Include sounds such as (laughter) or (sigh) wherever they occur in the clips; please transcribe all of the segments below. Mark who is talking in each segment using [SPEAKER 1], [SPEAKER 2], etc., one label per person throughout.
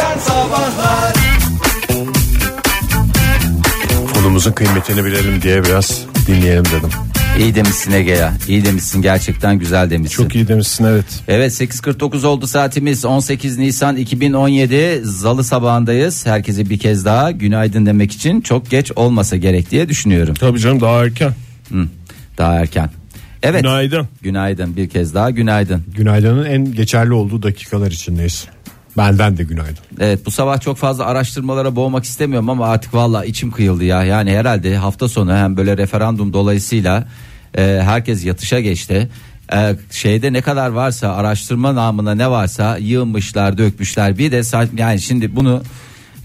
[SPEAKER 1] sabahlar
[SPEAKER 2] Konumuzun kıymetini bilelim diye biraz dinleyelim dedim.
[SPEAKER 3] İyi demişsin Ege ya. İyi demişsin gerçekten güzel demişsin.
[SPEAKER 2] Çok iyi demişsin evet.
[SPEAKER 3] Evet 8.49 oldu saatimiz 18 Nisan 2017 Zalı sabahındayız Herkese bir kez daha günaydın demek için çok geç olmasa gerek diye düşünüyorum
[SPEAKER 2] Tabii canım daha erken.
[SPEAKER 3] Hı, Daha erken Evet
[SPEAKER 2] Günaydın.
[SPEAKER 3] Günaydın bir kez daha günaydın
[SPEAKER 4] Günaydın'ın en geçerli olduğu dakikalar içindeyiz. Benden de günaydın.
[SPEAKER 3] Evet bu sabah çok fazla araştırmalara boğmak istemiyorum ama artık valla içim kıyıldı ya. Yani herhalde hafta sonu hem böyle referandum dolayısıyla e, herkes yatışa geçti. E, şeyde ne kadar varsa araştırma namına ne varsa yığmışlar dökmüşler. Bir de sa- yani şimdi bunu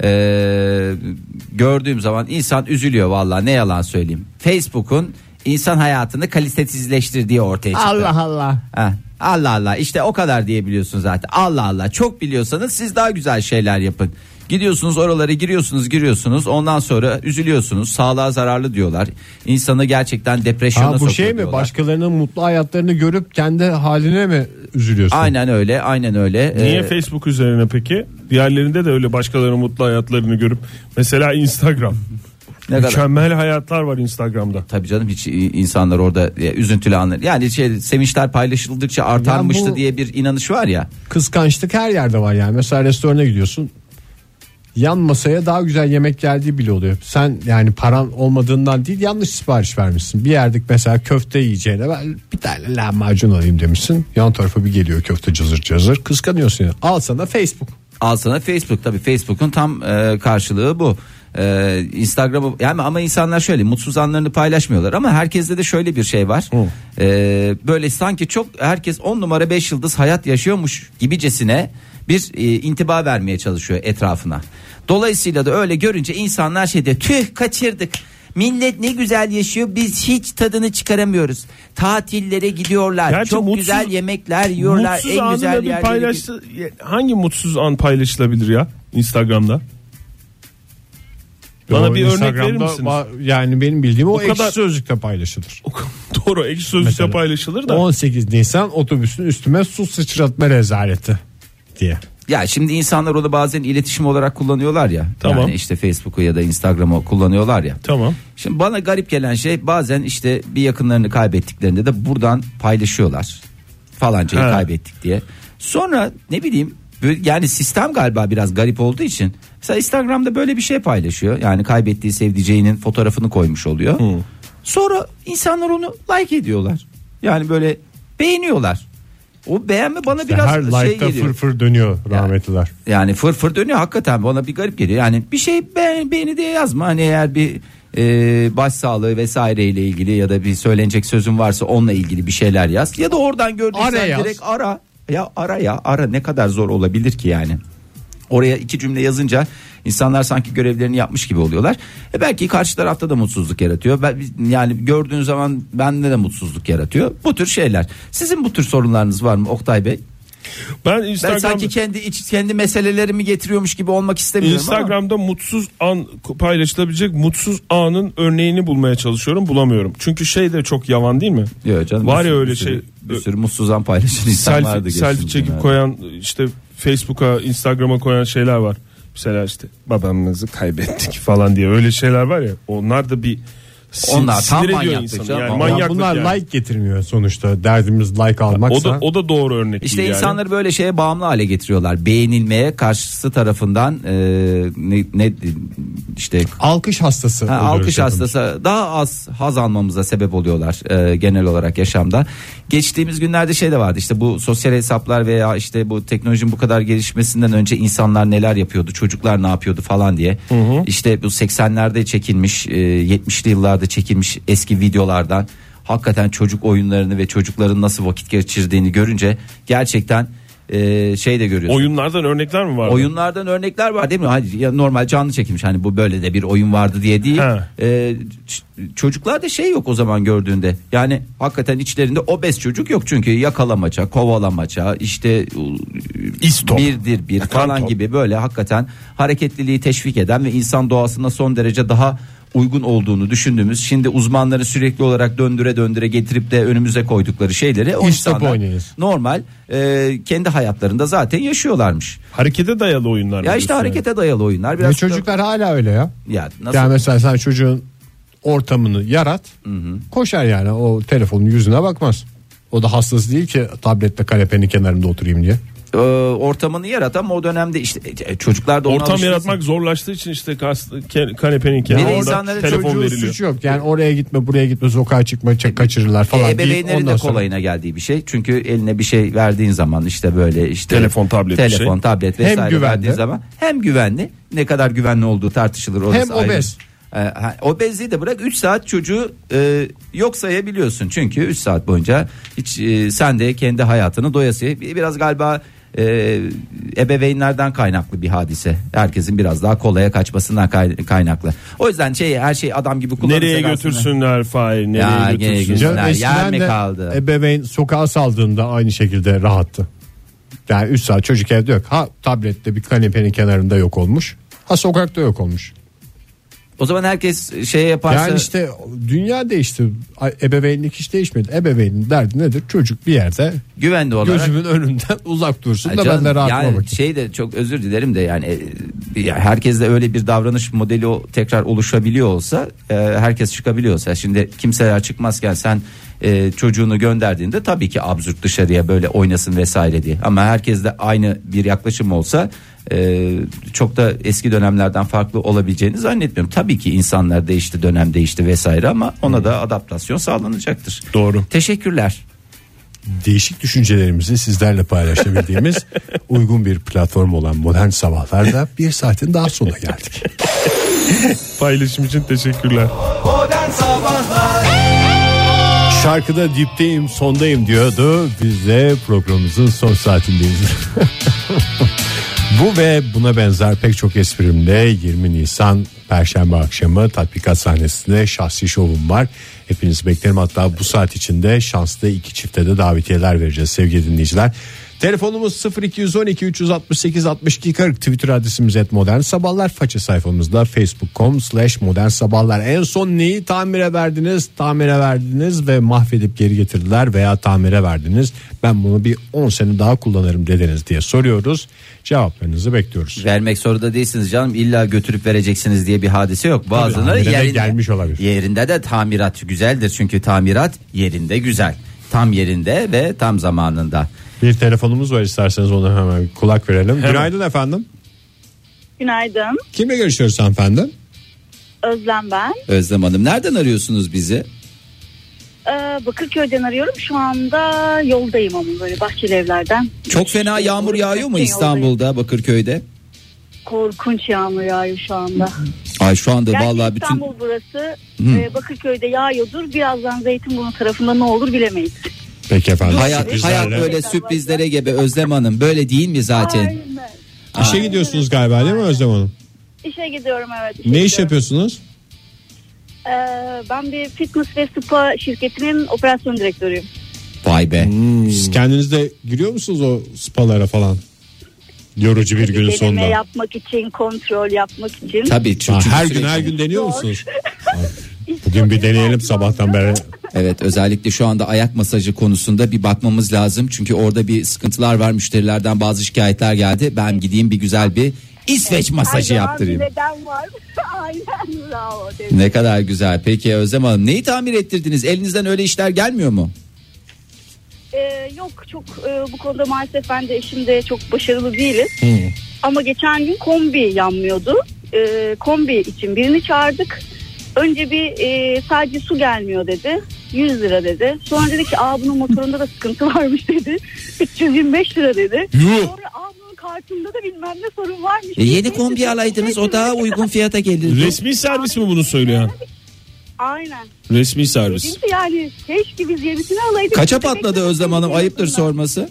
[SPEAKER 3] e, gördüğüm zaman insan üzülüyor valla ne yalan söyleyeyim. Facebook'un insan hayatını kalitesizleştirdiği ortaya
[SPEAKER 2] Şey
[SPEAKER 3] çıktı.
[SPEAKER 4] Allah.
[SPEAKER 3] Ha, Allah Allah işte o kadar diyebiliyorsunuz zaten. Allah Allah çok biliyorsanız siz daha güzel şeyler yapın. Gidiyorsunuz oralara giriyorsunuz giriyorsunuz ondan sonra üzülüyorsunuz sağlığa zararlı diyorlar. İnsanı gerçekten depresyona
[SPEAKER 4] Ha, bu
[SPEAKER 3] sokuyor
[SPEAKER 4] şey mi?
[SPEAKER 3] diyorlar.
[SPEAKER 4] Başkalarının mutlu hayatlarını görüp kendi haline mi üzülüyorsun?
[SPEAKER 3] Aynen öyle aynen öyle.
[SPEAKER 2] Niye
[SPEAKER 3] Ee,
[SPEAKER 2] Facebook üzerine peki? Diğerlerinde de öyle başkalarının mutlu hayatlarını görüp mesela Instagram.
[SPEAKER 3] Ne kadar?
[SPEAKER 2] Mükemmel hayatlar var Instagram'da.
[SPEAKER 3] Tabii canım hiç i- insanlar orada e, üzüntülü anlar. Yani şey, sevinçler paylaşıldıkça artarmıştı
[SPEAKER 4] Ya bu-
[SPEAKER 3] diye bir inanış var ya.
[SPEAKER 4] Kıskançlık her yerde var yani. Mesela restorana gidiyorsun. Yan masaya daha güzel yemek geldiği bile oluyor. Sen yani paran olmadığından değil yanlış sipariş vermişsin. Bir yerde mesela köfte yiyeceğine ben bir tane lahmacun alayım demişsin. Yan tarafa bir geliyor köfte cızır cızır. Kıskanıyorsun yani. Al sana Facebook.
[SPEAKER 3] Al sana Facebook tabii Facebook'un tam e, karşılığı bu. E, Instagram'ı yani ama insanlar şöyle mutsuz anlarını paylaşmıyorlar ama herkeste de şöyle bir şey var. E, böyle sanki çok herkes 10 numara 5 yıldız hayat yaşıyormuş gibicesine bir e, intiba vermeye çalışıyor etrafına. Dolayısıyla da öyle görünce insanlar şeyde tüh kaçırdık. Millet ne güzel yaşıyor biz hiç tadını çıkaramıyoruz. Tatillere gidiyorlar.
[SPEAKER 2] Gerçi
[SPEAKER 3] çok
[SPEAKER 2] mutsuz-
[SPEAKER 3] güzel yemekler yiyorlar.
[SPEAKER 2] mutsuz
[SPEAKER 3] en
[SPEAKER 2] anı
[SPEAKER 3] güzel
[SPEAKER 2] da bir
[SPEAKER 3] yerlere gidiyor.
[SPEAKER 2] paylaştı. Hangi mutsuz an paylaşılabilir ya Instagram'da? Bana
[SPEAKER 4] Yo,
[SPEAKER 2] bir örnek verir
[SPEAKER 4] Instagram'da
[SPEAKER 2] misiniz?
[SPEAKER 4] va- Yani benim bildiğim o,
[SPEAKER 2] O kadar-
[SPEAKER 4] ekşi sözlükte paylaşılır.
[SPEAKER 2] Doğru ekşi sözlükte
[SPEAKER 4] Mesela.
[SPEAKER 2] paylaşılır da.
[SPEAKER 4] 18 Nisan otobüsün üstüme su sıçratma rezaleti diye.
[SPEAKER 3] Ya şimdi insanlar onu bazen iletişim olarak kullanıyorlar ya.
[SPEAKER 2] Tamam.
[SPEAKER 3] Yani işte Facebook'u ya da Instagram'ı kullanıyorlar ya.
[SPEAKER 2] Tamam.
[SPEAKER 3] Şimdi bana garip gelen şey bazen işte bir yakınlarını kaybettiklerinde de buradan paylaşıyorlar. Falancayı
[SPEAKER 2] He.
[SPEAKER 3] kaybettik diye. Sonra ne bileyim böyle- yani sistem galiba biraz garip olduğu için mesela Instagram'da böyle bir şey paylaşıyor. Yani kaybettiği sevdiceğinin fotoğrafını koymuş oluyor. Sonra insanlar onu like ediyorlar. Yani böyle beğeniyorlar. O beğenme bana
[SPEAKER 4] İşte
[SPEAKER 3] biraz
[SPEAKER 4] her
[SPEAKER 3] şey
[SPEAKER 4] like'da
[SPEAKER 3] geliyor.
[SPEAKER 4] fırfır dönüyor rahmetliler.
[SPEAKER 3] Yani fır fır dönüyor hakikaten bana bir garip geliyor. Yani bir şey beğen, beğeni diye yazma. Hani eğer bir e, baş sağlığı vesaireyle ilgili ya da bir söylenecek sözün varsa onunla ilgili bir şeyler yaz. Ya da oradan gördüysen
[SPEAKER 4] Ara yaz.
[SPEAKER 3] direkt ara. Ya ara ya ara ne kadar zor olabilir ki yani. Oraya iki cümle yazınca insanlar sanki görevlerini yapmış gibi oluyorlar. E belki karşı tarafta da mutsuzluk yaratıyor. Ben, yani gördüğün zaman bende de mutsuzluk yaratıyor. Bu tür şeyler. Sizin bu tür sorunlarınız var mı Oktay Bey?
[SPEAKER 2] Ben
[SPEAKER 3] Ben
[SPEAKER 2] Instagram'da
[SPEAKER 3] sanki kendi iç kendi meselelerimi getiriyormuş gibi olmak istemiyorum ama.
[SPEAKER 2] Instagram'da mutsuz an paylaşılabilecek mutsuz anın örneğini bulmaya çalışıyorum, bulamıyorum. Çünkü şey de çok yavan değil mi?
[SPEAKER 3] Yok canım,
[SPEAKER 2] Var
[SPEAKER 3] bir
[SPEAKER 2] ya
[SPEAKER 3] sürü-
[SPEAKER 2] öyle
[SPEAKER 3] bir sürü-
[SPEAKER 2] şey.
[SPEAKER 3] Bir sürü mutsuzdan paylaşan insan vardı.
[SPEAKER 2] selfie, selfie
[SPEAKER 3] geçtiğimiz
[SPEAKER 2] çekip
[SPEAKER 3] günlerde.
[SPEAKER 2] koyan işte Facebook'a Instagram'a koyan şeyler var. Mesela işte babamızı kaybettik (laughs) falan diye öyle şeyler var ya. Onlar da bir sin-
[SPEAKER 3] Onlar tam
[SPEAKER 2] sinir ediyor
[SPEAKER 3] manyaklık
[SPEAKER 2] insanı.
[SPEAKER 3] canım.
[SPEAKER 2] Yani
[SPEAKER 3] Ya
[SPEAKER 4] Ya
[SPEAKER 2] manyaklık
[SPEAKER 4] bunlar
[SPEAKER 2] yani.
[SPEAKER 4] like getirmiyor sonuçta. Derdimiz like almaksa.
[SPEAKER 2] o da o da doğru örnek
[SPEAKER 3] İşte
[SPEAKER 2] değil yani.
[SPEAKER 3] insanları böyle şeye bağımlı hale getiriyorlar. Beğenilmeye karşısı tarafından e, ne, ne işte
[SPEAKER 4] Alkış
[SPEAKER 3] Ha,
[SPEAKER 4] hastası. oluyoruz
[SPEAKER 2] şey
[SPEAKER 3] alkış
[SPEAKER 4] hepimiz.
[SPEAKER 3] hastası daha az haz almamıza sebep oluyorlar e, genel olarak yaşamda. Geçtiğimiz günlerde şey de vardı işte bu sosyal hesaplar veya işte bu teknolojinin bu kadar gelişmesinden önce insanlar neler yapıyordu çocuklar ne yapıyordu falan diye.
[SPEAKER 2] şey-
[SPEAKER 3] İşte bu 80'lerde çekilmiş e, 70'li yıllarda çekilmiş eski videolardan hakikaten çocuk oyunlarını ve çocukların nasıl vakit geçirdiğini görünce gerçekten e, şey de görüyorsun.
[SPEAKER 2] Oyunlardan örnekler mi var?
[SPEAKER 3] Oyunlardan örnekler var değil mi? Hani ya normal canlı çekilmiş hani bu böyle de bir oyun vardı diye değil.
[SPEAKER 2] Ha.
[SPEAKER 3] Ee, ç- çocuklarda şey yok o zaman gördüğünde. Yani hakikaten içlerinde obez çocuk yok çünkü yakalamaca, kovalamaca, işte
[SPEAKER 2] İstop.
[SPEAKER 3] birdir bir
[SPEAKER 2] Yakan
[SPEAKER 3] falan
[SPEAKER 2] top.
[SPEAKER 3] gibi böyle hakikaten hareketliliği teşvik eden ve insan doğasına son derece daha uygun olduğunu düşündüğümüz şimdi uzmanları sürekli olarak döndüre döndüre getirip de önümüze koydukları şeyleri o
[SPEAKER 4] İş
[SPEAKER 3] insanlar
[SPEAKER 4] topu oynuyoruz.
[SPEAKER 3] normal e, kendi hayatlarında zaten yaşıyorlarmış.
[SPEAKER 2] Harekete dayalı oyunlar.
[SPEAKER 3] Ya işte
[SPEAKER 2] diyorsun
[SPEAKER 3] harekete dayalı oyunlar biraz
[SPEAKER 4] Ve
[SPEAKER 3] da-
[SPEAKER 4] çocuklar hala öyle ya.
[SPEAKER 3] ya nasıl
[SPEAKER 4] Yani mesela sen çocuğun ortamını yarat. Koşar yani o telefonun yüzüne bakmaz. O da hastası değil ki tablette kanepenin kenarında oturayım diye.
[SPEAKER 3] e, ortamını yarat ama o dönemde işte e, çocuklar da
[SPEAKER 2] yani.
[SPEAKER 3] ona
[SPEAKER 2] Ortam
[SPEAKER 3] alışkın-
[SPEAKER 2] yaratmak zorlaştığı için işte kas, ke- kanepenin
[SPEAKER 3] Bir de
[SPEAKER 2] kenarında
[SPEAKER 3] insanların
[SPEAKER 2] orada telefon
[SPEAKER 4] Çocuğun
[SPEAKER 2] veriliyor.
[SPEAKER 4] suçu yok. Yani oraya gitme buraya gitme sokağa çıkma çak- kaçırırlar falan.
[SPEAKER 3] E,
[SPEAKER 4] deyip
[SPEAKER 3] ebeveynlerin de
[SPEAKER 4] ondan sonra-
[SPEAKER 3] kolayına geldiği bir şey. Çünkü eline bir şey verdiğin zaman işte böyle işte
[SPEAKER 2] Telefon, tablet bir
[SPEAKER 3] telefon,
[SPEAKER 2] şey.
[SPEAKER 3] tablet
[SPEAKER 4] Hem
[SPEAKER 3] vesaire
[SPEAKER 4] güvenli.
[SPEAKER 3] verdiğin zaman hem güvenli. Ne kadar güvenli olduğu tartışılır orası
[SPEAKER 4] Hem
[SPEAKER 3] ayrı.
[SPEAKER 4] obez.
[SPEAKER 3] E, ha, obezliği de bırak 3 saat çocuğu e, yok sayabiliyorsun. Çünkü 3 saat boyunca hiç e, sen de kendi hayatını doyasıya bir- biraz galiba e, ebeveynlerden kaynaklı bir hadise. Herkesin biraz daha kolaya kaçmasından kay- kaynaklı. O yüzden şey her şey adam gibi kullanırsak
[SPEAKER 2] Nereye
[SPEAKER 3] aslında-
[SPEAKER 2] götürsünler Fahir? Nereye
[SPEAKER 3] Ya, gene
[SPEAKER 2] götürsünler?
[SPEAKER 3] güzel.
[SPEAKER 4] Canım
[SPEAKER 3] Yer
[SPEAKER 4] eskiden
[SPEAKER 3] mi
[SPEAKER 4] de
[SPEAKER 3] kaldı?
[SPEAKER 4] Ebeveyn sokağa saldığında aynı şekilde rahattı. Yani 3 saat çocuk evde yok. Ha tablette bir kanepenin kenarında yok olmuş. Ha sokakta yok olmuş.
[SPEAKER 3] O zaman herkes şey yaparsa
[SPEAKER 4] Yani işte dünya değişti. A- Ebeveynlik hiç değişmedi. Ebeveynin derdi nedir? Çocuk bir yerde
[SPEAKER 3] güvenli olarak
[SPEAKER 4] gözümün önünden (laughs) uzak dursun
[SPEAKER 3] Ay
[SPEAKER 4] da
[SPEAKER 3] canım,
[SPEAKER 4] ben de rahatıma
[SPEAKER 3] yani
[SPEAKER 4] bakayım.
[SPEAKER 3] şey de çok özür dilerim de yani e, ya herkeste öyle bir davranış modeli o tekrar oluşabiliyor olsa e, herkes çıkabiliyorsa şimdi kimseler çıkmazken sen e, çocuğunu gönderdiğinde tabii ki absürt dışarıya böyle oynasın vesaire diye ama herkeste aynı bir yaklaşım olsa e, çok da eski dönemlerden farklı olabileceğini zannetmiyorum. Tabii ki insanlar değişti dönem değişti vesaire ama ona da adaptasyon sağlanacaktır.
[SPEAKER 2] Doğru.
[SPEAKER 3] Teşekkürler.
[SPEAKER 4] değişik düşüncelerimizi
[SPEAKER 3] (laughs)
[SPEAKER 4] sizlerle paylaşabildiğimiz uygun bir platform olan Modern Sabahlar'da bir saatin daha sonuna geldik.
[SPEAKER 2] Paylaşım için teşekkürler.
[SPEAKER 4] Şarkıda dipteyim sondayım diyordu. Biz de programımızın son saatindeyiz. (laughs) Bu ve buna benzer pek çok esprimle 20 Nisan Perşembe akşamı tatbikat sahnesinde şahsi şovum var. Hepinizi beklerim hatta bu saat içinde şanslı iki çifte de davetiyeler vereceğiz sevgili dinleyiciler. Telefonumuz 0212 368 62 40 Twitter adresimiz et modern sabahlar faça sayfamızda facebook.com slash modern sabahlar en son neyi tamire verdiniz tamire verdiniz ve mahvedip geri getirdiler veya tamire verdiniz ben bunu bir 10 sene daha kullanırım dediniz diye soruyoruz cevaplarınızı bekliyoruz.
[SPEAKER 3] Vermek zorunda değilsiniz canım. İlla götürüp vereceksiniz diye bir hadise yok. Bazıları
[SPEAKER 4] tamire de
[SPEAKER 3] yerinde,
[SPEAKER 4] gelmiş olabilir.
[SPEAKER 3] Yerinde de tamirat güzeldir. Çünkü tamirat yerinde güzel. Tam yerinde ve tam zamanında.
[SPEAKER 4] Bir telefonumuz var isterseniz ona hemen bir kulak verelim. Günaydın efendim.
[SPEAKER 1] Günaydın.
[SPEAKER 4] Kimle görüşüyoruz hanımefendi?
[SPEAKER 1] Özlem ben.
[SPEAKER 3] Özlem Hanım nereden arıyorsunuz bizi?
[SPEAKER 1] Ee, Bakırköy'den arıyorum. Şu anda yoldayım ama böyle bahçeli evlerden.
[SPEAKER 3] Çok fena yağmur yağıyor mu
[SPEAKER 1] Yoldayım.
[SPEAKER 3] İstanbul'da Bakırköy'de?
[SPEAKER 1] Korkunç yağmur yağıyor şu anda.
[SPEAKER 3] Ay şu anda
[SPEAKER 1] Gerçi
[SPEAKER 3] vallahi bütün
[SPEAKER 1] İstanbul burası. Ee, Bakırköy'de yağıyordur. Birazdan Zeytinburnu tarafında ne olur bilemeyiz.
[SPEAKER 4] Peki efendim.
[SPEAKER 3] hayat,
[SPEAKER 4] Sürprizlerle.
[SPEAKER 3] hayat böyle sürprizlere gebe Özlem Hanım. Böyle değil mi zaten?
[SPEAKER 1] Aynen.
[SPEAKER 4] İşe gidiyorsunuz galiba değil mi Özlem Hanım?
[SPEAKER 1] İşe gidiyorum evet. işe
[SPEAKER 4] Ne iş
[SPEAKER 1] gidiyorum.
[SPEAKER 4] yapıyorsunuz?
[SPEAKER 1] Ee, ben bir fitness ve spa şirketinin operasyon direktörüyüm.
[SPEAKER 3] Vay be.
[SPEAKER 4] Siz kendiniz de giriyor musunuz o spalara falan? Yorucu bir günün
[SPEAKER 1] Deneme
[SPEAKER 4] sonunda.
[SPEAKER 1] yapmak için, kontrol yapmak için.
[SPEAKER 3] Tabii çünkü
[SPEAKER 4] Ha, her gün
[SPEAKER 3] sürekli-
[SPEAKER 4] her gün deniyor
[SPEAKER 1] Zor.
[SPEAKER 4] musunuz? Bugün bir deneyelim sabahtan beri.
[SPEAKER 3] Evet özellikle şu anda ayak masajı konusunda bir bakmamız lazım. Çünkü orada bir sıkıntılar var müşterilerden bazı şikayetler geldi. Ben gideyim bir güzel bir İsveç masajı
[SPEAKER 1] Her zaman
[SPEAKER 3] yaptırayım.
[SPEAKER 1] bir neden var. Aynen bravo. Dedim.
[SPEAKER 3] Ne kadar güzel. Peki Özlem Hanım neyi tamir ettirdiniz? Elinizden öyle işler gelmiyor mu?
[SPEAKER 1] Ee, yok çok e, bu konuda maalesef ben de eşim de çok başarılı değiliz. Ama geçen gün kombi yanmıyordu. Ee, kombi için birini çağırdık. Önce bir e, sadece su gelmiyor dedi. 100 lira dedi. Sonra dedi ki aa bunun motorunda da sıkıntı (laughs) varmış dedi. 325 lira dedi. Sonra aa bunun kartında da bilmem ne sorun varmış.
[SPEAKER 3] E, yeni
[SPEAKER 1] dedi.
[SPEAKER 3] kombi alaydınız o daha uygun fiyata gelirdi.
[SPEAKER 2] Resmi servis mi bunu söyleyen?
[SPEAKER 1] Aynen.
[SPEAKER 2] Resmi servis.
[SPEAKER 1] Dedim ki yani keşke biz yenisini alaydık.
[SPEAKER 3] Kaça
[SPEAKER 1] Demek
[SPEAKER 3] patladı
[SPEAKER 1] ki
[SPEAKER 3] Özlem Hanım ayıptır sorması.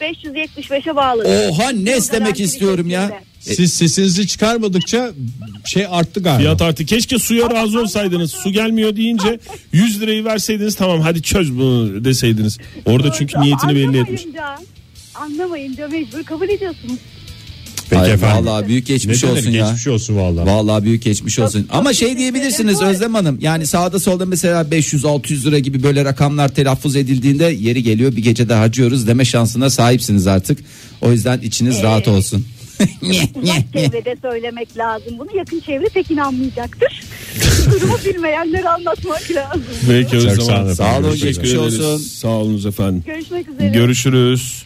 [SPEAKER 1] 575'e bağladı.
[SPEAKER 3] Oha nes demek istiyorum ya.
[SPEAKER 4] Siz sesinizi çıkarmadıkça şey arttı galiba.
[SPEAKER 2] Fiyat artık keşke suya razı olsaydınız. Su gelmiyor deyince 100 lirayı verseydiniz tamam hadi çöz bunu deseydiniz. Orada çünkü niyetini belli etmiş.
[SPEAKER 1] Anlamayınca, anlamayınca mecbur kabul ediyorsunuz.
[SPEAKER 4] Peki
[SPEAKER 3] Ay,
[SPEAKER 4] efendim.
[SPEAKER 3] Vallahi büyük
[SPEAKER 4] Ne şey
[SPEAKER 3] geçmiş
[SPEAKER 4] denir?
[SPEAKER 3] şey olsun ya.
[SPEAKER 4] Geçmiş olsun vallahi.
[SPEAKER 3] Vallahi büyük geçmiş olsun. Ama şey diyebilirsiniz Özlem Hanım. Yani sağda solda mesela 500-600 lira gibi böyle rakamlar telaffuz edildiğinde yeri geliyor bir gecede harcıyoruz deme şansına sahipsiniz artık. O yüzden içiniz rahat olsun.
[SPEAKER 1] Uzak çevrede söylemek lazım bunu. Yakın çevre pek inanmayacaktır. (laughs) Durumu bilmeyenlere anlatmak lazım.
[SPEAKER 2] Peki o
[SPEAKER 4] Çok sağ
[SPEAKER 2] zaman.
[SPEAKER 4] olun
[SPEAKER 3] Sağ olun
[SPEAKER 4] Teşekkür
[SPEAKER 3] geçmiş olsun.
[SPEAKER 2] Sağ olunuz efendim.
[SPEAKER 1] Görüşmek üzere.
[SPEAKER 2] Görüşürüz.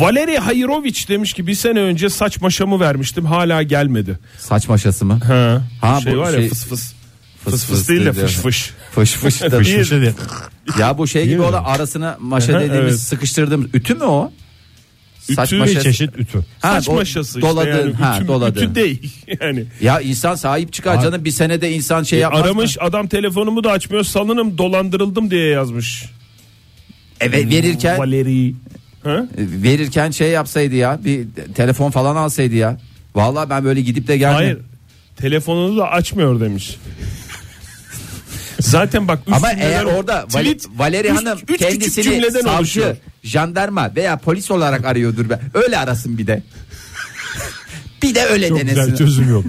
[SPEAKER 2] Valeri Hayroviç demiş ki bir sene önce saç maşamı vermiştim hala gelmedi.
[SPEAKER 3] Saç maşası mı?
[SPEAKER 2] Ha,
[SPEAKER 3] Ha,
[SPEAKER 2] şey
[SPEAKER 3] bu
[SPEAKER 2] var ya
[SPEAKER 3] şey-
[SPEAKER 2] fıs fıs.
[SPEAKER 3] Fıs
[SPEAKER 2] Fıs
[SPEAKER 3] fıs
[SPEAKER 2] fıs değil de
[SPEAKER 3] dedi.
[SPEAKER 2] fış fış.
[SPEAKER 3] Fış
[SPEAKER 2] (laughs)
[SPEAKER 3] fış da-
[SPEAKER 2] Fış fış.
[SPEAKER 3] ya bu şey gibi
[SPEAKER 4] mi?
[SPEAKER 3] olan arasına maşa
[SPEAKER 2] Aha,
[SPEAKER 3] dediğimiz
[SPEAKER 2] evet.
[SPEAKER 3] sıkıştırdığımız ütü mü o? Saç
[SPEAKER 2] Ütü
[SPEAKER 3] maşası.
[SPEAKER 4] Bir çeşit ütü.
[SPEAKER 3] Ha,
[SPEAKER 2] Saç
[SPEAKER 3] do-
[SPEAKER 2] maşası işte
[SPEAKER 3] doladın,
[SPEAKER 2] yani.
[SPEAKER 3] ha,
[SPEAKER 2] ütü,
[SPEAKER 3] doladın.
[SPEAKER 2] ütü değil (laughs) yani. E,
[SPEAKER 3] Ya insan sahip çıkar canım bir senede insan şey yapmaz mı?
[SPEAKER 2] Aramış adam telefonumu da açmıyor sanırım dolandırıldım diye yazmış.
[SPEAKER 3] Evet verirken
[SPEAKER 2] Valeri. Ha?
[SPEAKER 3] verirken şey yapsaydı ya bir telefon falan alsaydı ya. Vallahi ben böyle gidip de geldim.
[SPEAKER 2] Hayır. Telefonunu da
[SPEAKER 3] (laughs)
[SPEAKER 2] açmıyor demiş. Zaten bak üç
[SPEAKER 3] Ama
[SPEAKER 2] cümleden-
[SPEAKER 3] eğer orada Val-
[SPEAKER 2] tweet,
[SPEAKER 3] Valeri
[SPEAKER 2] üç-
[SPEAKER 3] Hanım
[SPEAKER 2] üç küçük
[SPEAKER 3] kendisini
[SPEAKER 2] cümleden
[SPEAKER 3] savcı,
[SPEAKER 2] oluşuyor.
[SPEAKER 3] jandarma veya polis olarak arıyordur. Be. Öyle arasın bir de. (laughs) bir de öyle
[SPEAKER 4] Çok güzel
[SPEAKER 3] denesin.
[SPEAKER 4] çözüm
[SPEAKER 3] (laughs)
[SPEAKER 4] yok.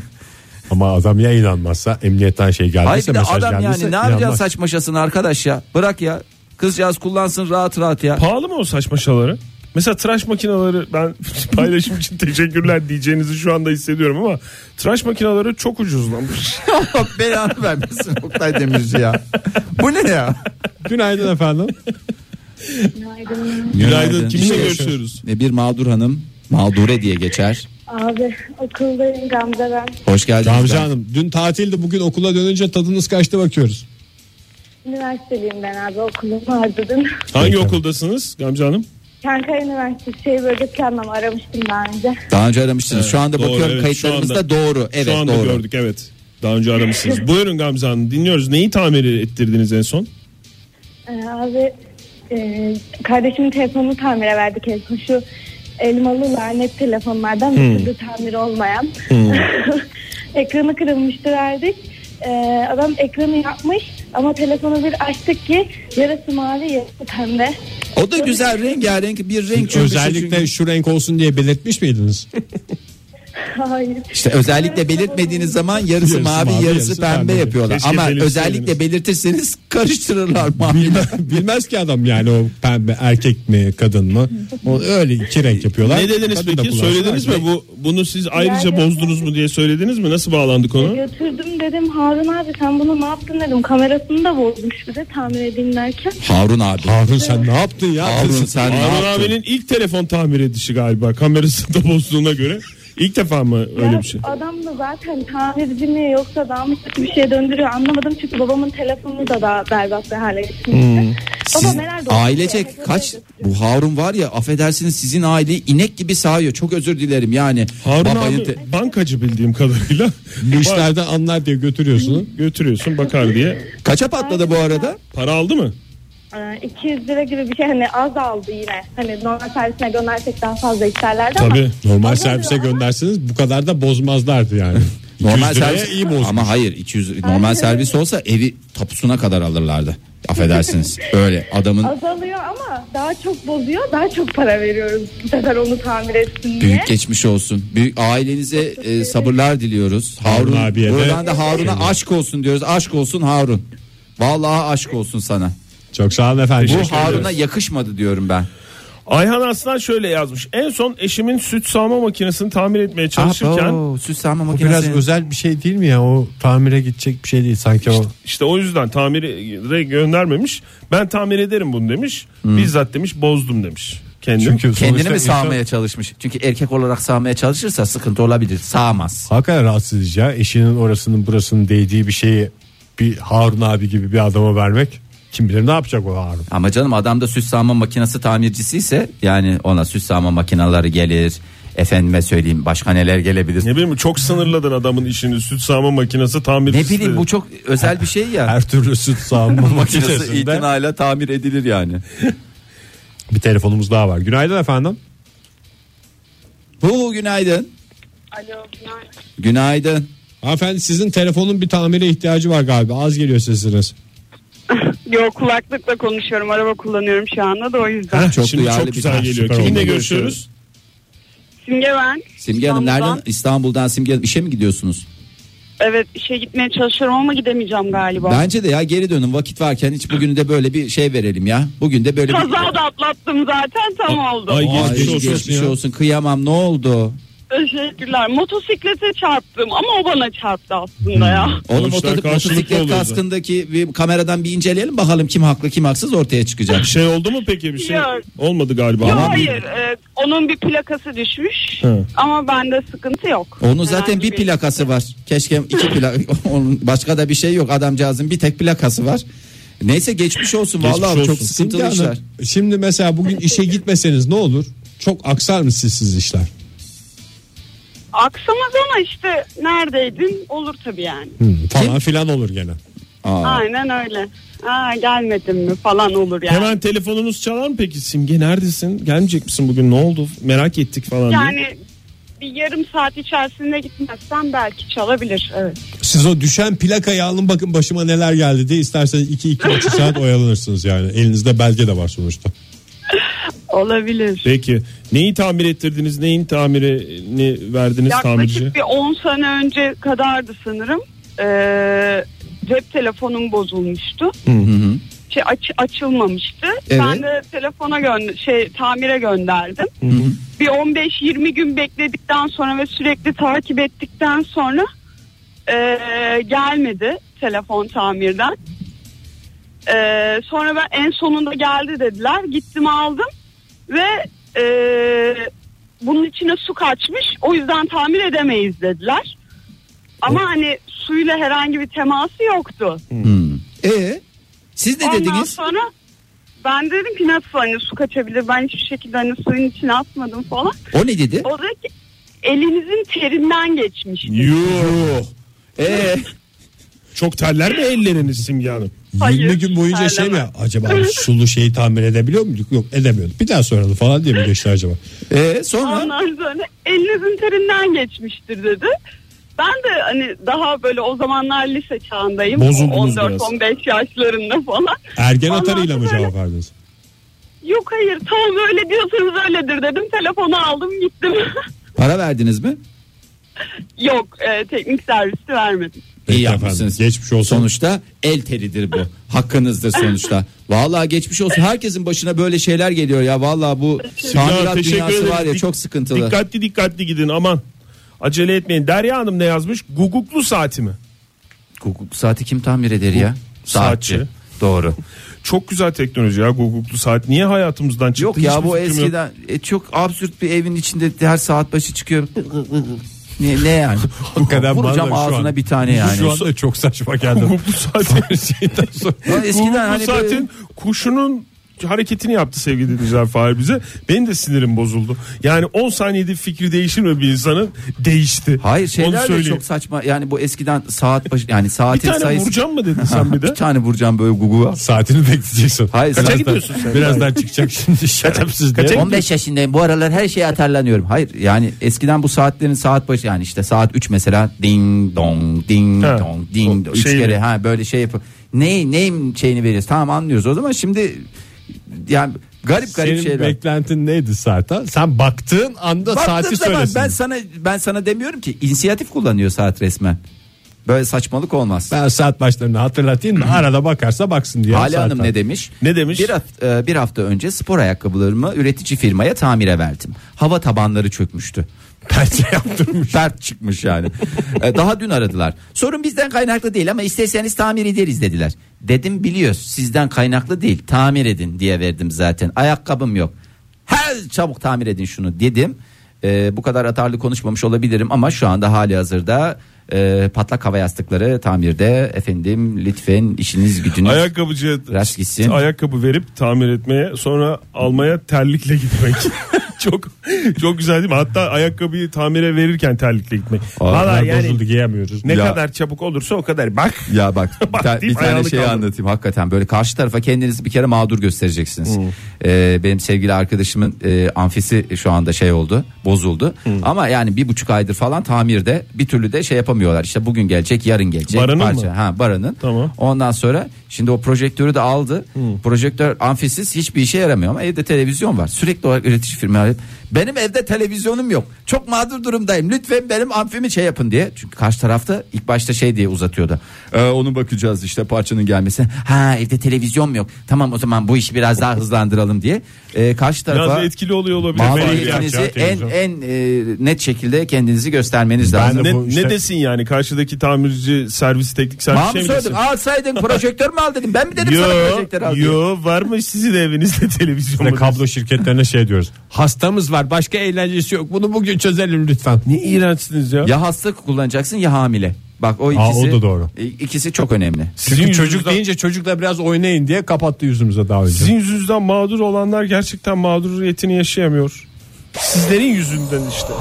[SPEAKER 4] Ama adam ya inanmazsa emniyetten şey
[SPEAKER 3] Hayır
[SPEAKER 4] geldiyse
[SPEAKER 3] bir de
[SPEAKER 4] mesaj
[SPEAKER 3] adam
[SPEAKER 4] geldiyse
[SPEAKER 3] yani ne yapacaksın
[SPEAKER 4] inanmaz.
[SPEAKER 3] saç maşasını arkadaş ya. Bırak ya. Kızcağız kullansın rahat rahat ya.
[SPEAKER 2] Pahalı mı o saç maşaları? Mesela tıraş
[SPEAKER 3] (laughs)
[SPEAKER 2] makineleri ben paylaşım için teşekkürler diyeceğinizi şu anda hissediyorum ama tıraş makineleri çok ucuzlanmış.
[SPEAKER 3] Allah (laughs) belanı vermesin Oktay Demirci ya. Bu ne (laughs) ya?
[SPEAKER 4] Günaydın efendim.
[SPEAKER 5] Günaydın.
[SPEAKER 2] Günaydın. Kiminle
[SPEAKER 3] Bir- şey
[SPEAKER 2] görüşüyoruz?
[SPEAKER 3] Bir mağdur hanım. Mağdure diye geçer.
[SPEAKER 5] Abi okuldayım Gamze ben.
[SPEAKER 3] Hoş geldiniz.
[SPEAKER 4] Gamze Hanım dün tatildi bugün okula dönünce tadınız kaçtı bakıyoruz.
[SPEAKER 5] Üniversiteliyim ben abi okulumu harcadım.
[SPEAKER 2] Hangi okuldasınız Gamze Hanım?
[SPEAKER 5] Çankaya Üniversitesi şey böcek planlama aramıştım daha önce.
[SPEAKER 3] Daha önce aramıştınız. şu anda
[SPEAKER 2] doğru,
[SPEAKER 3] bakıyorum
[SPEAKER 2] evet,
[SPEAKER 3] kayıtlarımızda
[SPEAKER 2] şu anda-
[SPEAKER 3] doğru. Evet
[SPEAKER 2] şu anda
[SPEAKER 3] doğru.
[SPEAKER 2] gördük evet. Daha
[SPEAKER 3] (laughs)
[SPEAKER 2] önce aramışsınız. Buyurun Gamze Hanım dinliyoruz. Neyi tamir ettirdiniz en son?
[SPEAKER 5] Ee, abi e, kardeşimin telefonunu tamire verdik en son. Şu elmalı lanet telefonlardan bir türlü tamir olmayan. (laughs) Ekranı kırılmıştı verdik. Ee, adam ekranı yapmış ama telefonu bir açtık ki yarısı mavi yarısı pembe. (laughs)
[SPEAKER 3] O da güzel rengarenk bir renk çünkü.
[SPEAKER 4] Özellikle şu renk olsun diye belirtmiş miydiniz?
[SPEAKER 5] Hayır.
[SPEAKER 3] işte özellikle belirtmediğiniz zaman yarısı,
[SPEAKER 4] Yarısı
[SPEAKER 3] mavi,
[SPEAKER 4] mavi,
[SPEAKER 3] yarısı,
[SPEAKER 4] yarısı
[SPEAKER 3] pembe,
[SPEAKER 4] pembe.
[SPEAKER 3] yapıyorlar.
[SPEAKER 2] Keşke
[SPEAKER 3] Ama
[SPEAKER 2] belirtseydiniz.
[SPEAKER 3] özellikle belirtirseniz karıştırırlar mavi.
[SPEAKER 4] Bilme- (laughs) bilmez ki adam yani o pembe erkek mi kadın mı? O öyle iki renk yapıyorlar.
[SPEAKER 2] Ne dediniz
[SPEAKER 4] Kadın da
[SPEAKER 2] peki?
[SPEAKER 4] kullansın.
[SPEAKER 2] Söylediniz mi? Bu bunu siz ayrıca
[SPEAKER 5] Yani- Ee,
[SPEAKER 2] bozdunuz mu diye söylediniz mi? Nasıl bağlandı konu?
[SPEAKER 5] Götürdüm dedim Harun abi sen bunu ne yaptın dedim. Kamerasını da bozmuş bize tamir edeyim derken.
[SPEAKER 3] Harun abi.
[SPEAKER 4] Harun sen ne yaptın ya?
[SPEAKER 3] Harun sen ne
[SPEAKER 2] Harun
[SPEAKER 3] yaptın?
[SPEAKER 2] abinin ilk telefon tamir edişi galiba kamerası da bozduğuna göre. İlk defa mı öyle
[SPEAKER 5] Ya
[SPEAKER 2] bir şey?
[SPEAKER 5] Adam da zaten tamirci mi yoksa daha mı kötü bir şey döndürüyor anlamadım. Çünkü babamın telefonu da daha berbat bir hale getirmişti.
[SPEAKER 2] Hmm.
[SPEAKER 3] Siz
[SPEAKER 5] neler doldurdu?
[SPEAKER 3] ailecek kaç bu Harun var ya affedersiniz sizin aile inek gibi sağıyor. Çok özür dilerim yani.
[SPEAKER 2] Harun
[SPEAKER 3] Babayı
[SPEAKER 2] abi
[SPEAKER 3] te-
[SPEAKER 2] bankacı bildiğim kadarıyla.
[SPEAKER 4] Bu
[SPEAKER 2] Bak-
[SPEAKER 4] işlerden anlar diye götürüyorsun.
[SPEAKER 2] götürüyorsun bakar diye.
[SPEAKER 3] kaça patladı bu arada?
[SPEAKER 2] Para aldı mı?
[SPEAKER 5] Ee, 200 lira gibi bir şey hani az aldı yine. Hani normal servisine göndersek daha fazla isterlerdi
[SPEAKER 2] Tabii.
[SPEAKER 4] Normal
[SPEAKER 5] Adam
[SPEAKER 4] servise
[SPEAKER 5] diyor,
[SPEAKER 4] gönderseniz bu kadar da bozmazlardı yani.
[SPEAKER 3] (laughs) Normal
[SPEAKER 4] 200 liraya
[SPEAKER 3] servis
[SPEAKER 4] iyi bozmuş.
[SPEAKER 3] ama hayır 200 normal servis olsa evi tapusuna kadar alırlardı. Affedersiniz. Öyle adamın
[SPEAKER 5] ama azalıyor ama daha çok bozuyor daha çok para veriyoruz. Bu sefer onu tamir etsin diye.
[SPEAKER 3] Büyük geçmiş olsun. Büyük ailenize e, sabırlar diliyoruz.
[SPEAKER 4] Harun
[SPEAKER 3] Harun,
[SPEAKER 4] abiye de-
[SPEAKER 3] buradan da Harun'a aşk olsun diyoruz. Aşk olsun Harun. Vallahi aşk olsun sana.
[SPEAKER 4] Çok sağ olun efendim.
[SPEAKER 3] Bu Harun'a yakışmadı diyorum ben.
[SPEAKER 2] Ayhan Aslan şöyle yazmış. En son eşimin süt sağma makinesini tamir etmeye çalışırken
[SPEAKER 3] Abo, süs sağma
[SPEAKER 4] Bu biraz
[SPEAKER 3] makinesi.
[SPEAKER 4] özel bir şey değil mi ya? O tamire gidecek bir şey değil sanki o.
[SPEAKER 2] işte o yüzden tamire göndermemiş. Ben tamir ederim bunu demiş.
[SPEAKER 3] Hmm.
[SPEAKER 2] Bizzat demiş bozdum demiş. Kendim.
[SPEAKER 4] Çünkü
[SPEAKER 3] Kendini
[SPEAKER 4] sonuçta
[SPEAKER 3] mi
[SPEAKER 4] insan-
[SPEAKER 3] sağmaya çalışmış? Çünkü erkek olarak sağmaya çalışırsa sıkıntı olabilir. Sağmaz.
[SPEAKER 4] Hakikaten rahatsız edici ya. Eşinin orasının burasının değdiği bir şeyi bir Harun abi gibi bir adama vermek. Kim bilir ne yapacak o Harun.
[SPEAKER 3] Ama canım adam da süs sağma makinesi tamircisi ise yani ona süs sağma makineleri gelir. Efendime söyleyeyim başka neler gelebilir.
[SPEAKER 2] Ne bileyim çok sınırladın
[SPEAKER 3] (laughs)
[SPEAKER 2] adamın işini. Süt sağma makinesi tamir
[SPEAKER 3] Ne bileyim bu çok özel bir
[SPEAKER 6] (laughs)
[SPEAKER 3] şey ya.
[SPEAKER 4] Her türlü süt sağma
[SPEAKER 3] (laughs) makinesi
[SPEAKER 4] makinesinde.
[SPEAKER 3] itinayla tamir edilir yani.
[SPEAKER 4] Bir telefonumuz daha var. Günaydın efendim.
[SPEAKER 3] Hu günaydın.
[SPEAKER 5] Alo, günaydın.
[SPEAKER 3] Günaydın.
[SPEAKER 4] Hanımefendi sizin telefonun bir tamire ihtiyacı var galiba. Az geliyor sesiniz.
[SPEAKER 6] Yok kulaklıkla konuşuyorum. Araba kullanıyorum şu anda da o yüzden.
[SPEAKER 2] Çok
[SPEAKER 3] Çok
[SPEAKER 2] Şimdi
[SPEAKER 3] duyarlı
[SPEAKER 2] çok
[SPEAKER 3] bir
[SPEAKER 2] güzel
[SPEAKER 3] tarz,
[SPEAKER 2] geliyor.
[SPEAKER 4] süper
[SPEAKER 2] Kiminle
[SPEAKER 4] oldu.
[SPEAKER 2] görüşüyoruz?
[SPEAKER 6] Simge ben.
[SPEAKER 3] Simge Hanım
[SPEAKER 6] İstanbul'dan.
[SPEAKER 3] nereden? İstanbul'dan Simge Hanım işe mi gidiyorsunuz?
[SPEAKER 6] Evet işe gitmeye çalışıyorum ama gidemeyeceğim galiba.
[SPEAKER 3] Bence de ya geri dönün vakit varken hiç bugünü de böyle bir şey verelim ya. Bugün de böyle bir...
[SPEAKER 6] Kaza da atlattım zaten tam oldu.
[SPEAKER 2] ay,
[SPEAKER 3] Ay,
[SPEAKER 2] Geçmiş olsun
[SPEAKER 3] geçmiş
[SPEAKER 2] ya.
[SPEAKER 3] olsun kıyamam ne oldu?
[SPEAKER 6] Teşekkürler. Motosiklete çarptım ama o bana çarptı aslında
[SPEAKER 2] Hmm.
[SPEAKER 6] ya.
[SPEAKER 3] Oğlum
[SPEAKER 2] Sonuçlar
[SPEAKER 3] motor-
[SPEAKER 2] karşılıklı
[SPEAKER 3] motosiklet
[SPEAKER 2] oluyor
[SPEAKER 3] kaskındaki bir kameradan bir inceleyelim bakalım kim haklı kim haksız ortaya çıkacak.
[SPEAKER 2] Bir şey oldu mu peki bir şey?
[SPEAKER 6] Yok.
[SPEAKER 2] Olmadı galiba.
[SPEAKER 6] Yo,
[SPEAKER 2] Ama-
[SPEAKER 6] hayır. e, onun bir plakası düşmüş.
[SPEAKER 2] Hı.
[SPEAKER 6] Ama bende sıkıntı yok.
[SPEAKER 3] Onun zaten
[SPEAKER 6] Herhangi
[SPEAKER 3] bir plakası var. Keşke iki plak (laughs) onun başka da bir şey yok adamcağızın bir tek plakası var. Neyse geçmiş olsun
[SPEAKER 2] Geçmiş
[SPEAKER 3] vallahi çok
[SPEAKER 2] olsun.
[SPEAKER 3] sıkıntılı
[SPEAKER 2] Simge
[SPEAKER 3] işler.
[SPEAKER 4] Şimdi mesela bugün işe gitmeseniz ne olur? Çok aksar mı sizsiz işler?
[SPEAKER 6] Aksamaz ama işte neredeydin olur tabii yani.
[SPEAKER 4] Falan filan olur gene.
[SPEAKER 3] Aa.
[SPEAKER 6] Aynen öyle. Aa, gelmedim mi falan olur yani.
[SPEAKER 2] Hemen telefonunuz çalar mı peki Simge neredesin? Gelmeyecek misin bugün ne oldu? Merak ettik falan diye.
[SPEAKER 6] yani bir yarım saat içerisinde gitmezsen belki çalabilir. Evet.
[SPEAKER 4] Siz o düşen plakayı alın bakın başıma neler geldi diye isterseniz 2-2,5 saat oyalanırsınız yani. Elinizde belge de var sonuçta.
[SPEAKER 6] Olabilir.
[SPEAKER 2] Peki neyi tamir ettirdiniz? Neyin tamirini verdiniz tamirciye?
[SPEAKER 6] Yaklaşık bir 10 sene önce kadardı sanırım. Ee, cep telefonum bozulmuştu. Şey aç- açılmamıştı.
[SPEAKER 3] Evet.
[SPEAKER 6] Ben de telefona gönder şey tamire gönderdim. Bir 15-20 gün bekledikten sonra ve sürekli takip ettikten sonra ee, gelmedi telefon tamirden. Ee, sonra ben en sonunda geldi dediler. Gittim aldım ve ee, bunun içine su kaçmış o yüzden tamir edemeyiz dediler. Ama hani suyla herhangi bir teması yoktu.
[SPEAKER 3] Hmm. E siz ne
[SPEAKER 6] Ondan
[SPEAKER 3] dediniz?
[SPEAKER 6] sonra ben dedim ki nasıl hani su kaçabilir ben hiçbir şekilde hani suyun içine atmadım falan.
[SPEAKER 3] O ne dedi?
[SPEAKER 6] O da ki elinizin terinden geçmiş.
[SPEAKER 2] Yuh.
[SPEAKER 3] E
[SPEAKER 2] Çok terler mi elleriniz Simge Hanım?
[SPEAKER 6] Hayır,
[SPEAKER 4] 20 gün boyunca şey mi
[SPEAKER 6] terlemem.
[SPEAKER 4] ya, acaba sulu şeyi tamir edebiliyor muyduk? Yok edemiyorduk. Bir daha soralım falan diye mi geçti acaba?
[SPEAKER 3] e sonra
[SPEAKER 6] Ondan sonra elinizin terinden geçmiştir dedi. Ben de hani daha böyle o zamanlar lise çağındayım.
[SPEAKER 2] Bozuldunuz
[SPEAKER 6] 14-15 yaşlarında falan.
[SPEAKER 4] Ergen
[SPEAKER 6] Ondan
[SPEAKER 4] atarıyla mı
[SPEAKER 6] sonra-
[SPEAKER 4] cevap verdiniz?
[SPEAKER 6] Yok hayır tamam öyle diyorsanız öyledir dedim. Telefonu aldım gittim. (laughs)
[SPEAKER 3] para verdiniz mi?
[SPEAKER 6] Yok e, teknik servisi vermedim.
[SPEAKER 3] İyi
[SPEAKER 4] Peki
[SPEAKER 3] yapmışsınız.
[SPEAKER 4] efendim, geçmiş olsun.
[SPEAKER 3] Sonuçta el
[SPEAKER 2] (laughs)
[SPEAKER 3] teridir bu. Hakkınızdır sonuçta. Vallahi geçmiş olsun. Herkesin başına böyle şeyler geliyor ya. Vallahi bu
[SPEAKER 2] Ya,
[SPEAKER 3] tamirat
[SPEAKER 2] teşekkür
[SPEAKER 3] dünyası
[SPEAKER 2] ederim.
[SPEAKER 3] var ya
[SPEAKER 2] Dik-
[SPEAKER 3] çok sıkıntılı.
[SPEAKER 2] Dikkatli dikkatli gidin aman. Acele etmeyin. Derya Hanım ne yazmış? Guguklu saati mi?
[SPEAKER 3] Hukuk saati kim tamir eder ya?
[SPEAKER 2] Saatçi.
[SPEAKER 3] Doğru.
[SPEAKER 2] Çok güzel teknoloji ya guguklu saat. Niye hayatımızdan çıktı?
[SPEAKER 3] Yok ya
[SPEAKER 2] Hiçbir
[SPEAKER 3] bu
[SPEAKER 2] fikrim yok.
[SPEAKER 3] eskiden e, çok absürt bir evin içinde her saat başı çıkıyor. ne, ne yani?
[SPEAKER 4] (laughs) Hakikaten bana da
[SPEAKER 3] Vuracağım
[SPEAKER 4] şu an-
[SPEAKER 3] ağzına bir tane
[SPEAKER 4] Şu
[SPEAKER 3] yani.
[SPEAKER 4] anda çok saçma geldi.
[SPEAKER 2] Guguklu saatin şeyden sonra.
[SPEAKER 3] (laughs) Ya eskiden
[SPEAKER 2] guguklu
[SPEAKER 3] hani
[SPEAKER 2] saatin
[SPEAKER 3] böyle-
[SPEAKER 2] kuşunun hareketini yaptı sevgili dinleyiciler Fahir bize. Benim de sinirim bozuldu. Yani 10 saniyede fikri değişir mi bir insanın? Değişti.
[SPEAKER 3] Hayır
[SPEAKER 2] Onu
[SPEAKER 3] şeyler de
[SPEAKER 2] söyleyeyim.
[SPEAKER 3] çok saçma. Yani bu eskiden saat başı yani
[SPEAKER 2] Bir
[SPEAKER 3] saatin
[SPEAKER 2] tane
[SPEAKER 3] sayısı.
[SPEAKER 2] vuracağım mı dedin sen bir de?
[SPEAKER 3] bir tane vuracağım böyle gugu.
[SPEAKER 4] Saatini bekleyeceksin.
[SPEAKER 3] Hayır, Kaça
[SPEAKER 4] Birazdan-
[SPEAKER 2] gidiyorsun sen?
[SPEAKER 4] Birazdan çıkacak şimdi şerefsiz diye.
[SPEAKER 2] Kaça-
[SPEAKER 3] 15 yaşındayım bu aralar her şeye atarlanıyorum. Hayır yani eskiden bu saatlerin saat başı yani işte saat 3 mesela ding dong ding
[SPEAKER 2] Ha,
[SPEAKER 3] dong ding
[SPEAKER 2] o
[SPEAKER 3] dong 3
[SPEAKER 2] şeyi-
[SPEAKER 3] kere ha böyle şey yapıp ne neyim şeyini veriyoruz. Tamam anlıyoruz o zaman şimdi yani garip garip
[SPEAKER 4] Senin
[SPEAKER 3] şeyler.
[SPEAKER 4] beklentin neydi saatten? Sen baktığın anda
[SPEAKER 3] Baktığın
[SPEAKER 4] saati
[SPEAKER 3] zaman
[SPEAKER 4] söylesin.
[SPEAKER 3] ben sana ben sana demiyorum ki inisiyatif kullanıyor saat resmen. Böyle saçmalık olmaz.
[SPEAKER 4] Ben saat başlarını hatırlatayım da arada bakarsa baksın diye.
[SPEAKER 3] Hale Hanım
[SPEAKER 4] zaten.
[SPEAKER 3] ne demiş?
[SPEAKER 2] Ne demiş?
[SPEAKER 3] Bir, haft- e, bir hafta önce spor ayakkabılarımı üretici firmaya tamire verdim. Hava tabanları çökmüştü. Perçe yaptırmış. (laughs) Pert çıkmış yani. E, Daha dün aradılar. Sorun bizden kaynaklı değil ama isterseniz tamir ederiz dediler. Dedim biliyoruz sizden kaynaklı değil tamir edin diye verdim zaten. Ayakkabım yok. Her çabuk tamir edin şunu dedim. E, bu kadar atarlı konuşmamış olabilirim ama şu anda hali hazırda e, patlak hava yastıkları tamirde efendim lütfen işiniz gücünüz
[SPEAKER 2] Ayakkabıcıya
[SPEAKER 3] Rast gitsin.
[SPEAKER 2] ayakkabı verip tamir etmeye sonra almaya terlikle gitmek. (laughs) çok çok güzel değil mi? Hatta ayakkabıyı tamire verirken terlikle gitmek. Valla
[SPEAKER 4] Bunlar
[SPEAKER 2] yani
[SPEAKER 4] bozuldu giyemiyoruz.
[SPEAKER 2] ne
[SPEAKER 3] Ya.
[SPEAKER 2] kadar çabuk olursa o kadar. Bak
[SPEAKER 3] Ya
[SPEAKER 2] (laughs)
[SPEAKER 3] bak bir, ta- bir
[SPEAKER 2] deyip
[SPEAKER 3] tane
[SPEAKER 2] ayağını
[SPEAKER 3] şey
[SPEAKER 2] kaldır.
[SPEAKER 3] anlatayım hakikaten böyle karşı tarafa kendinizi bir kere mağdur göstereceksiniz.
[SPEAKER 2] Hmm.
[SPEAKER 3] Ee, benim sevgili arkadaşımın e, amfisi şu anda şey oldu bozuldu
[SPEAKER 2] Hmm.
[SPEAKER 3] ama yani bir buçuk aydır falan tamirde bir türlü de şey yapamıyorlar işte bugün gelecek yarın gelecek.
[SPEAKER 2] Baranın mı?
[SPEAKER 3] Ha baranın.
[SPEAKER 2] Tamam.
[SPEAKER 3] Ondan sonra şimdi o projektörü de aldı. Projektör amfisiz hiçbir işe yaramıyor ama evde televizyon var. Sürekli olarak üretici firma arayıp, Benim evde televizyonum yok. Çok mağdur durumdayım. Lütfen benim amfimi şey yapın diye. Çünkü karşı tarafta ilk başta şey diye uzatıyordu. Ee, onu bakacağız işte parçanın gelmesi. Ha evde televizyon mu yok? Tamam o zaman bu işi biraz (laughs) daha hızlandıralım diye. Ee, karşı
[SPEAKER 2] Biraz da
[SPEAKER 3] tarafa
[SPEAKER 2] etkili oluyor olabilir. Belediye
[SPEAKER 3] mağduriyetinizi
[SPEAKER 2] açar
[SPEAKER 3] en
[SPEAKER 2] televizyon.
[SPEAKER 3] en e, net şekilde kendinizi göstermeniz lazım.
[SPEAKER 4] de
[SPEAKER 2] ne,
[SPEAKER 4] bu işte-
[SPEAKER 2] ne desin yani karşıdaki tamirci servis teknik servis
[SPEAKER 3] Bana
[SPEAKER 2] şey
[SPEAKER 3] mı
[SPEAKER 2] mi
[SPEAKER 3] söyledim?
[SPEAKER 2] desin?
[SPEAKER 3] Alsaydın projektör mü al dedim. Ben mi dedim sana projektör al
[SPEAKER 2] (laughs) Yo,
[SPEAKER 3] diye.
[SPEAKER 2] yo varmış sizin evinizde televizyon
[SPEAKER 4] Ve
[SPEAKER 2] mu desin?
[SPEAKER 4] kablo şirketlerine şey diyoruz. Hastamız var başka eğlencesi yok. Bunu bugün çözelim lütfen.
[SPEAKER 2] Ne iğrençsiniz ya.
[SPEAKER 3] Ya hasta kullanacaksın ya hamile. Bak o ikisi.
[SPEAKER 4] o da doğru.
[SPEAKER 3] İ- İkisi çok önemli.
[SPEAKER 2] Sizin
[SPEAKER 4] Çünkü çocuk
[SPEAKER 2] yüzünüzden-
[SPEAKER 4] deyince çocukla biraz oynayın diye kapattı yüzümüze daha önce.
[SPEAKER 2] Sizin yüzünüzden mağdur olanlar gerçekten mağduriyetini yaşayamıyor. Sizlerin yüzünden işte.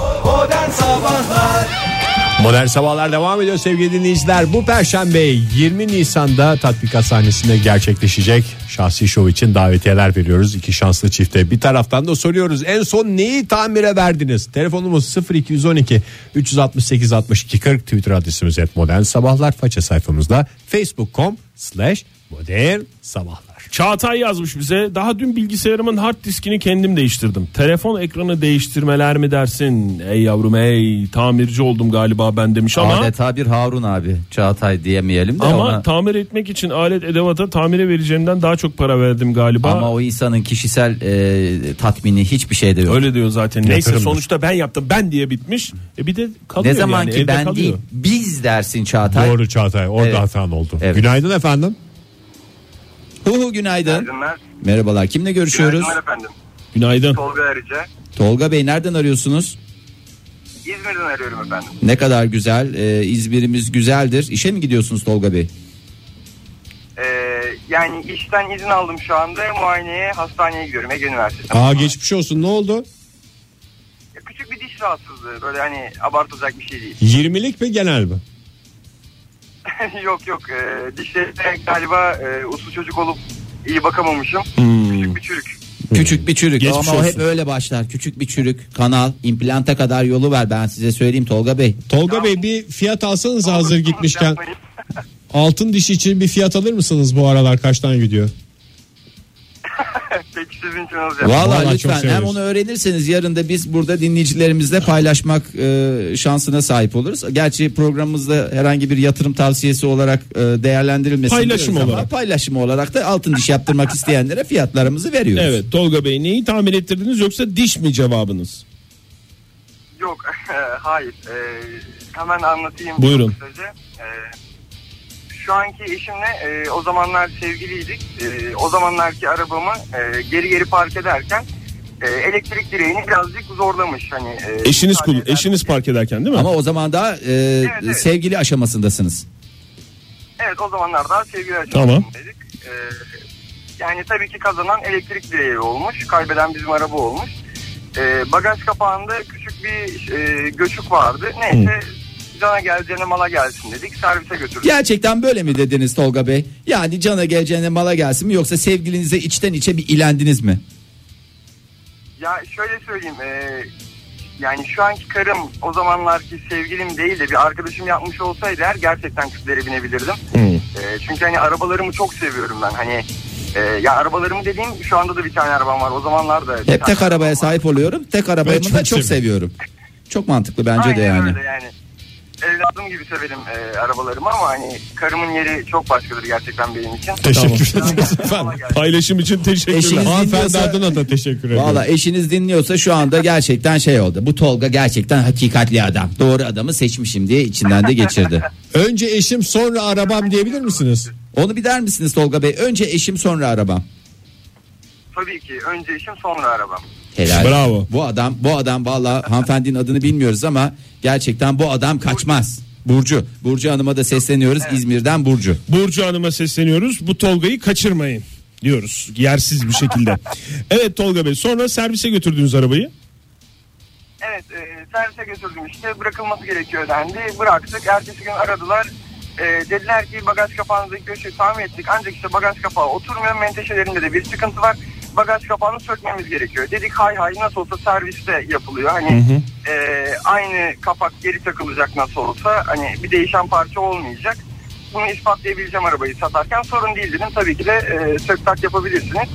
[SPEAKER 4] Modern Sabahlar devam ediyor sevgili dinleyiciler. Bu Perşembe 20 Nisan'da tatbikat sahnesinde gerçekleşecek şahsi şov için davetiyeler veriyoruz. iki şanslı çifte bir taraftan da soruyoruz. En son neyi tamire verdiniz? Telefonumuz 0212 368 62 40 Twitter adresimiz et Modern Sabahlar faça sayfamızda facebook.com slash modern sabahlar.
[SPEAKER 2] Çağatay yazmış bize. Daha dün bilgisayarımın hard diskini kendim değiştirdim. Telefon ekranı değiştirmeler mi dersin? Ey yavrum ey tamirci oldum galiba ben demiş ama
[SPEAKER 3] Adeta bir Harun abi. Çağatay diyemeyelim de
[SPEAKER 2] ama
[SPEAKER 3] ona.
[SPEAKER 2] tamir etmek için alet edevata tamire vereceğimden daha çok para verdim galiba.
[SPEAKER 3] Ama o insanın kişisel e, tatmini hiçbir şeyde yok.
[SPEAKER 2] Öyle diyor zaten. Neyse
[SPEAKER 4] Yatırımdır.
[SPEAKER 2] sonuçta ben yaptım ben diye bitmiş. E bir de kalıyor
[SPEAKER 3] ne zaman
[SPEAKER 2] yani,
[SPEAKER 3] ki
[SPEAKER 2] evde
[SPEAKER 3] ben
[SPEAKER 2] kalıyor.
[SPEAKER 3] değil biz dersin Çağatay.
[SPEAKER 4] Doğru Çağatay orada
[SPEAKER 3] Evet.
[SPEAKER 4] hatan oldu.
[SPEAKER 3] Evet.
[SPEAKER 4] Günaydın efendim.
[SPEAKER 3] Huhu günaydın.
[SPEAKER 7] Günler.
[SPEAKER 3] Merhabalar. Kimle görüşüyoruz?
[SPEAKER 7] Günaydınlar efendim.
[SPEAKER 2] Günaydın.
[SPEAKER 7] Tolga Erice.
[SPEAKER 3] Tolga Bey nereden arıyorsunuz?
[SPEAKER 7] İzmir'den arıyorum efendim.
[SPEAKER 3] Ne kadar güzel. E, İzmir'imiz güzeldir. İşe mi gidiyorsunuz Tolga Bey?
[SPEAKER 7] Ee, yani işten izin aldım şu anda. Muayeneye hastaneye gidiyorum Ege Üniversitesi.
[SPEAKER 4] Aa geçmiş olsun ne oldu?
[SPEAKER 7] Küçük bir diş rahatsızlığı. Böyle hani abartılacak bir şey değil. (laughs)
[SPEAKER 4] 20'lik mi genel mi?
[SPEAKER 7] yok yok. Ee, dişlerine galiba e, uslu çocuk olup iyi bakamamışım. Küçük bir çürük.
[SPEAKER 3] Küçük bir çürük
[SPEAKER 2] Hmm. Geçmiş
[SPEAKER 3] ama o hep
[SPEAKER 2] olsun.
[SPEAKER 3] öyle başlar. Küçük bir çürük, kanal, implanta kadar yolu var ben size söyleyeyim Tolga Bey.
[SPEAKER 4] Tolga Bey bir fiyat alsanız hazır gitmişken.
[SPEAKER 7] Yapmayın.
[SPEAKER 4] Altın dişi için bir fiyat alır mısınız bu aralar kaçtan gidiyor?
[SPEAKER 7] Peki sizin için alacağım.
[SPEAKER 3] Vallahi,
[SPEAKER 4] Vallahi çok
[SPEAKER 3] lütfen hem
[SPEAKER 4] seviyoruz.
[SPEAKER 3] onu öğrenirseniz yarın da biz burada dinleyicilerimizle paylaşmak e, şansına sahip oluruz. Gerçi programımızda herhangi bir yatırım tavsiyesi olarak e, değerlendirilmesin.
[SPEAKER 2] Paylaşım
[SPEAKER 3] diyoruz ama
[SPEAKER 2] olarak.
[SPEAKER 3] Paylaşım olarak da altın diş yaptırmak isteyenlere fiyatlarımızı veriyoruz.
[SPEAKER 2] Evet Tolga Bey neyi tamir ettirdiniz yoksa diş mi cevabınız?
[SPEAKER 7] Yok (laughs) e, hayır. Ee, hemen anlatayım.
[SPEAKER 2] Buyurun.
[SPEAKER 7] çok kısaca. Ee, şu anki eşimle e, o zamanlar sevgiliydik. E, o zamanlarki arabamı e, geri geri park ederken e, elektrik direğini birazcık zorlamış. Hani, e,
[SPEAKER 2] Eşiniz kul,
[SPEAKER 7] müsaade eder-
[SPEAKER 2] eşiniz park ederken değil mi?
[SPEAKER 3] Ama o zaman daha e,
[SPEAKER 7] evet.
[SPEAKER 3] sevgili aşamasındasınız.
[SPEAKER 7] Evet o zamanlar daha sevgili
[SPEAKER 2] Tamam.
[SPEAKER 7] aşamasındaydık. E, yani tabii ki kazanan elektrik direği olmuş. Kaybeden bizim araba olmuş. E, bagaj kapağında küçük bir e, göçük vardı. Neyse cana geleceğine mala gelsin dedik. Servise götürdük.
[SPEAKER 3] Gerçekten böyle mi dediniz Tolga Bey? Yani cana geleceğine mala gelsin mi yoksa sevgilinize içten içe bir ilendiniz mi?
[SPEAKER 7] Ya şöyle söyleyeyim. eee, yani şu anki karım o zamanlarki sevgilim değil de bir arkadaşım yapmış olsaydı her gerçekten küplere binebilirdim. Eee, çünkü hani arabalarımı çok seviyorum ben. Hani eee, ya arabalarımı dediğim şu anda da bir tane arabam var. O zamanlar da. bir
[SPEAKER 3] Hep
[SPEAKER 7] tane
[SPEAKER 3] tek arabaya
[SPEAKER 7] arabam var.
[SPEAKER 3] sahip oluyorum. Tek arabayı
[SPEAKER 4] çok
[SPEAKER 3] da çok seviyorum. Çok mantıklı bence de
[SPEAKER 7] Aynen
[SPEAKER 3] yani.
[SPEAKER 7] öyle yani. Evladım gibi severim eee, arabalarımı ama hani karımın yeri çok başkadır gerçekten benim için.
[SPEAKER 4] Teşekkür
[SPEAKER 7] Tamam.
[SPEAKER 4] ederiz
[SPEAKER 7] Kolay
[SPEAKER 4] efendim.
[SPEAKER 7] gelsin.
[SPEAKER 2] Paylaşım için teşekkürler.
[SPEAKER 3] Eşiniz
[SPEAKER 4] Hanımefendi
[SPEAKER 3] dinliyorsa-
[SPEAKER 4] adına da teşekkür ederim.
[SPEAKER 3] Valla eşiniz dinliyorsa şu anda gerçekten şey oldu. Bu Tolga gerçekten hakikatli adam. Doğru adamı seçmişim diye içinden de geçirdi.
[SPEAKER 4] Önce eşim sonra arabam diyebilir misiniz?
[SPEAKER 3] Onu bir der misiniz Tolga Bey? Önce eşim sonra arabam.
[SPEAKER 7] Tabii ki önce işim sonra arabam.
[SPEAKER 3] Helal.
[SPEAKER 2] Bravo.
[SPEAKER 3] Bu adam bu adam valla hanımefendinin adını bilmiyoruz ama gerçekten bu adam kaçmaz. Burcu. Burcu Hanım'a da sesleniyoruz İzmir'den Burcu.
[SPEAKER 2] Burcu Hanım'a sesleniyoruz. Bu Tolga'yı kaçırmayın diyoruz. Yersiz bir şekilde. evet Tolga Bey sonra servise götürdünüz arabayı.
[SPEAKER 7] Evet e, servise götürdüm işte bırakılması gerekiyor dendi. Bıraktık ertesi gün aradılar. E, dediler ki bagaj kapağınızdaki köşeyi tamir ettik. Ancak işte bagaj kapağı oturmuyor menteşelerinde de bir sıkıntı var. Bagaj kapağını sökmemiz gerekiyor. Dedik hay hay nasıl olsa serviste yapılıyor. Hani e, aynı kapak geri takılacak nasıl olsa. Hani bir değişen parça olmayacak. Bunu ispatlayabileceğim arabayı satarken sorun değil dedim. Tabii ki de e, sök tak yapabilirsiniz.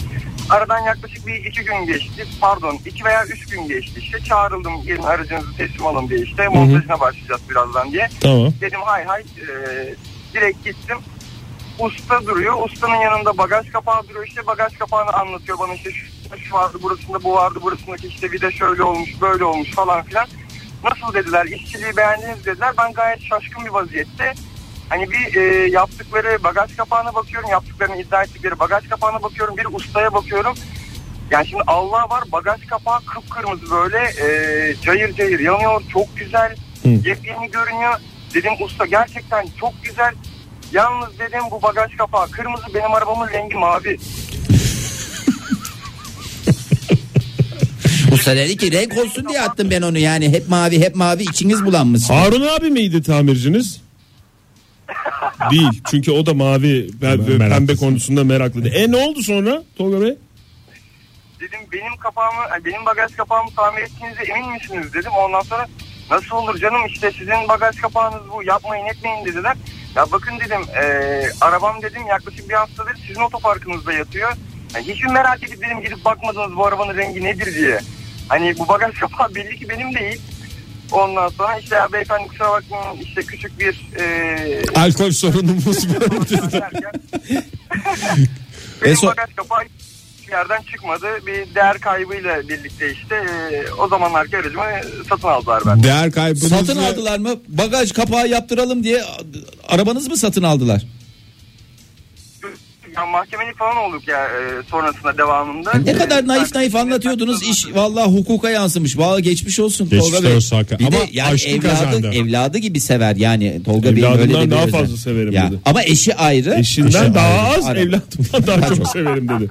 [SPEAKER 7] Aradan yaklaşık bir iki gün geçti. Pardon iki veya üç gün geçti. İşte çağrıldım gelin aracınızı teslim alın diye işte. Montajına başlayacağız birazdan diye.
[SPEAKER 2] Tamam.
[SPEAKER 7] Dedim hay hay e, direkt gittim. Usta duruyor. Ustanın yanında bagaj kapağı duruyor. İşte bagaj kapağını anlatıyor bana işte şu, şu vardı burasında bu vardı burasındaki işte bir de şöyle olmuş böyle olmuş falan filan. Nasıl dediler işçiliği beğendiniz dediler. Ben gayet şaşkın bir vaziyette. Hani bir e, yaptıkları bagaj kapağına bakıyorum. Yaptıklarını iddia ettikleri bagaj kapağına bakıyorum. Bir ustaya bakıyorum. Yani şimdi Allah var bagaj kapağı kıpkırmızı böyle e, cayır cayır yanıyor. Çok güzel. Yepyeni görünüyor. Dedim usta gerçekten çok güzel. Yalnız dedim bu bagaj kapağı kırmızı benim arabamın rengi mavi.
[SPEAKER 3] Usta dedi ki renk olsun diye attım ben onu yani. Hep mavi hep mavi içiniz bulanmış.
[SPEAKER 2] Harun abi miydi tamirciniz? Değil. Çünkü o da mavi ve- ve pembe
[SPEAKER 4] meraklısı.
[SPEAKER 2] konusunda meraklıydı. E ne oldu sonra Tolga Bey?
[SPEAKER 7] Dedim benim kapağımı ay, benim bagaj kapağımı tamir ettiğinize emin misiniz dedim. Ondan sonra nasıl olur canım işte sizin bagaj kapağınız bu yapmayın etmeyin dediler. Ya bakın dedim eee, arabam dedim yaklaşık bir haftadır sizin otoparkınızda yatıyor. Yani hiç mi merak edip dedim gidip bakmadınız bu arabanın rengi nedir diye. Hani bu bagaj (laughs) kapağı belli ki benim değil. Ondan sonra işte ya beyefendi kusura bakmayın işte küçük bir eee
[SPEAKER 2] Alkol sorunumuz
[SPEAKER 7] derken Benim
[SPEAKER 3] En son-
[SPEAKER 7] bagaj kapağı hiçbir yerden çıkmadı. Bir değer kaybıyla birlikte işte e, o zamanlarki aracımı satın aldılar ben.
[SPEAKER 4] Değer kaybınızı
[SPEAKER 3] Satın aldılar mı? Bagaj kapağı yaptıralım diye a- arabanız mı satın aldılar?
[SPEAKER 7] Ya mahkemelik falan olduk ya e, sonrasında devamında.
[SPEAKER 3] Ne
[SPEAKER 7] E,
[SPEAKER 3] kadar naif
[SPEAKER 7] ben-
[SPEAKER 3] naif anlatıyordunuz. iş vallahi hukuka yansımış. Vallahi geçmiş olsun
[SPEAKER 4] Geçmiş
[SPEAKER 3] Tolga Bey.
[SPEAKER 4] olsun hakikaten.
[SPEAKER 3] Bir de
[SPEAKER 4] Ama
[SPEAKER 3] yani
[SPEAKER 4] aşkı
[SPEAKER 3] evladı,
[SPEAKER 4] kazandı.
[SPEAKER 3] evladı gibi sever yani Tolga Bey'in öyle de
[SPEAKER 2] Evladımdan
[SPEAKER 3] bir
[SPEAKER 2] daha
[SPEAKER 3] özel-
[SPEAKER 2] fazla severim dedi.
[SPEAKER 3] Ama eşi ayrı. Eşi
[SPEAKER 2] Eşinden daha
[SPEAKER 3] ayrı.
[SPEAKER 2] az
[SPEAKER 3] Ayrı.
[SPEAKER 2] evladımdan
[SPEAKER 3] (laughs)
[SPEAKER 2] daha çok severim dedi.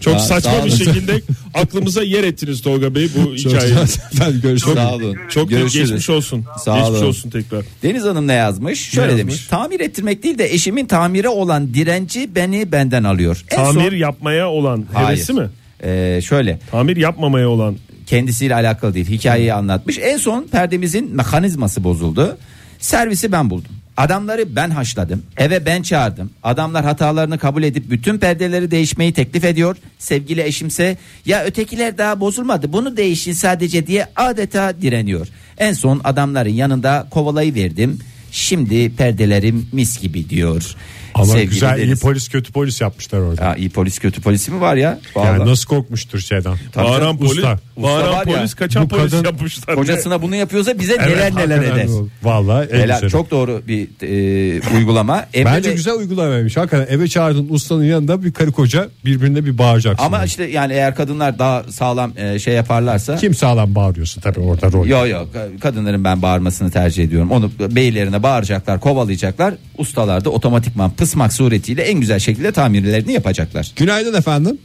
[SPEAKER 2] Çok
[SPEAKER 3] Sağ- sağ
[SPEAKER 2] saçma bir
[SPEAKER 3] olun.
[SPEAKER 2] şekilde aklımıza yer ettiniz Tolga Bey bu hikayeyi.
[SPEAKER 4] Efendim görüşmek
[SPEAKER 3] Sağ olun.
[SPEAKER 2] Çok büyük
[SPEAKER 3] Görüşürüz.
[SPEAKER 2] geçmiş olsun.
[SPEAKER 3] Sağ
[SPEAKER 2] geçmiş
[SPEAKER 3] olun.
[SPEAKER 2] olsun tekrar.
[SPEAKER 3] Deniz Hanım ne yazmış? Şöyle
[SPEAKER 2] yazmış?
[SPEAKER 3] demiş. Tamir ettirmek değil de eşimin tamire olan direnci beni benden alıyor. En son-
[SPEAKER 2] Tamir yapmaya olan
[SPEAKER 3] Hayır.
[SPEAKER 2] hevesi mi?
[SPEAKER 3] Ee, şöyle
[SPEAKER 2] Tamir yapmamaya olan
[SPEAKER 3] kendisiyle alakalı değil hikayeyi anlatmış. En son perdemizin mekanizması bozuldu. Servisi ben buldum. Adamları ben haşladım. Eve ben çağırdım. Adamlar hatalarını kabul edip bütün perdeleri değişmeyi teklif ediyor. Sevgili eşimse ya ötekiler daha bozulmadı bunu değişin sadece diye adeta direniyor. En son adamların yanında kovalayı verdim. Şimdi perdelerim mis gibi diyor.
[SPEAKER 4] Ama
[SPEAKER 3] Sevgili
[SPEAKER 4] güzel iyi
[SPEAKER 3] Deniz.
[SPEAKER 4] polis kötü polis yapmışlar orada.
[SPEAKER 3] Ya iyi polis kötü polisi mi var ya?
[SPEAKER 4] Yani
[SPEAKER 3] Vallahi.
[SPEAKER 4] nasıl korkmuştur şeyden.
[SPEAKER 3] Tabii
[SPEAKER 2] bağıran
[SPEAKER 3] canım,
[SPEAKER 2] polis,
[SPEAKER 4] usta.
[SPEAKER 2] bağıran
[SPEAKER 3] Usta var ya,
[SPEAKER 2] polis kaçan
[SPEAKER 4] bu
[SPEAKER 2] polis
[SPEAKER 4] kadın
[SPEAKER 2] yapmışlar.
[SPEAKER 3] Kocasına bunu yapıyorsa bize neler neler
[SPEAKER 4] Hakikaten
[SPEAKER 3] eder.
[SPEAKER 4] doğru. Vallahi en
[SPEAKER 3] Helal,
[SPEAKER 4] güzeli.
[SPEAKER 3] çok doğru bir e, uygulama. Emre
[SPEAKER 4] Bence
[SPEAKER 3] Bey-
[SPEAKER 4] güzel uygulamaymış. Hakikaten eve çağırdın ustanın yanında bir karı koca birbirine bir bağıracaksın.
[SPEAKER 3] Ama
[SPEAKER 4] Yani.
[SPEAKER 3] işte yani eğer kadınlar daha sağlam e, şey yaparlarsa
[SPEAKER 4] kim sağlam bağırıyorsun tabii orada rol.
[SPEAKER 3] Yok yok kadınların ben bağırmasını tercih ediyorum. Onu beylerine bağıracaklar, kovalayacaklar. Ustalar da otomatikman pısmak suretiyle en güzel şekilde tamirlerini yapacaklar.
[SPEAKER 4] Günaydın efendim.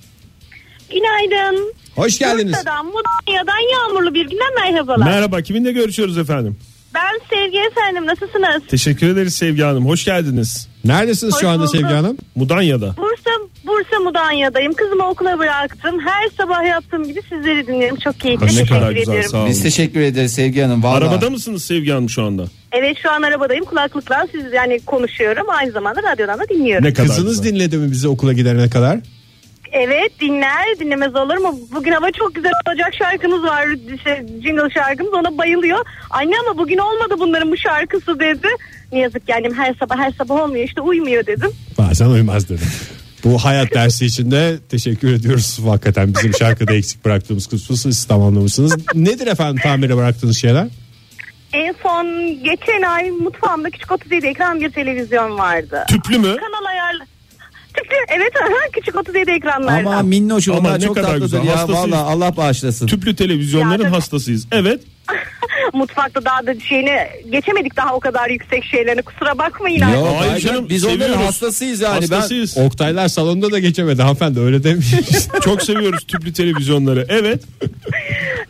[SPEAKER 8] Günaydın.
[SPEAKER 4] Hoş geldiniz.
[SPEAKER 8] Bursa'dan, Mudanya'dan yağmurlu bir günden merhabalar.
[SPEAKER 2] Merhaba kiminle görüşüyoruz efendim?
[SPEAKER 8] ben Sevgi efendim nasılsınız?
[SPEAKER 2] Teşekkür ederiz Sevgi Hanım. Hoş geldiniz.
[SPEAKER 4] Neredesiniz
[SPEAKER 8] Hoş
[SPEAKER 4] şu anda
[SPEAKER 8] bulduk.
[SPEAKER 4] Sevgi Hanım?
[SPEAKER 2] Mudanya'da.
[SPEAKER 8] Bursa Bursa Mudanya'dayım. Kızımı okula bıraktım. Her sabah yaptığım gibi sizleri dinliyorum. Çok keyifli.
[SPEAKER 2] Ne
[SPEAKER 8] Teşekkür
[SPEAKER 2] kadar
[SPEAKER 8] ediyorum.
[SPEAKER 2] güzel sağ olun.
[SPEAKER 3] Biz teşekkür ederiz Sevgi Hanım. Vallahi.
[SPEAKER 2] Arabada mısınız Sevgi Hanım şu anda?
[SPEAKER 8] Evet şu an arabadayım. Kulaklıkla siz yani konuşuyorum. Aynı zamanda radyodan da dinliyorum.
[SPEAKER 2] Ne kadar
[SPEAKER 4] Kızınız
[SPEAKER 2] güzel.
[SPEAKER 4] dinledi mi bizi okula gidene kadar?
[SPEAKER 8] Evet dinler dinlemez olur mu? Bugün hava çok güzel olacak şarkınız var. Şey, jingle şarkımız ona bayılıyor. Anne ama bugün olmadı bunların bu şarkısı dedi. Ne yazık yani her sabah her sabah olmuyor işte uymuyor dedim.
[SPEAKER 4] Bazen uymaz dedim. Bu hayat dersi için de teşekkür ediyoruz. Hakikaten bizim şarkıda eksik bıraktığımız kısmı siz tamamlamışsınız. Nedir efendim tamire bıraktığınız şeyler?
[SPEAKER 8] En son geçen ay mutfağımda küçük 37 ekran bir televizyon vardı.
[SPEAKER 2] Tüplü mü?
[SPEAKER 8] Kanal ayarlı. Tüplü evet aha, küçük 37 ekranlardan.
[SPEAKER 3] Ama minnoş
[SPEAKER 2] Ama
[SPEAKER 3] onlar
[SPEAKER 2] ne
[SPEAKER 3] çok
[SPEAKER 2] kadar
[SPEAKER 3] tatlıdır
[SPEAKER 2] güzel,
[SPEAKER 3] ya.
[SPEAKER 2] hastasıyız.
[SPEAKER 3] Vallahi Allah bağışlasın.
[SPEAKER 2] Tüplü televizyonların
[SPEAKER 8] Yani-
[SPEAKER 2] hastasıyız. Evet.
[SPEAKER 8] (laughs) Mutfakta daha da şeyini geçemedik daha o kadar yüksek şeylerini kusura bakmayın. artık.
[SPEAKER 3] Yok,
[SPEAKER 2] Hayır
[SPEAKER 3] hayır
[SPEAKER 2] canım,
[SPEAKER 3] biz onların
[SPEAKER 2] seviyoruz.
[SPEAKER 3] hastasıyız yani.
[SPEAKER 2] hastasıyız.
[SPEAKER 4] Oktaylar salonda da geçemedi hanımefendi öyle (laughs) demiş.
[SPEAKER 2] Çok seviyoruz tüplü televizyonları. Evet.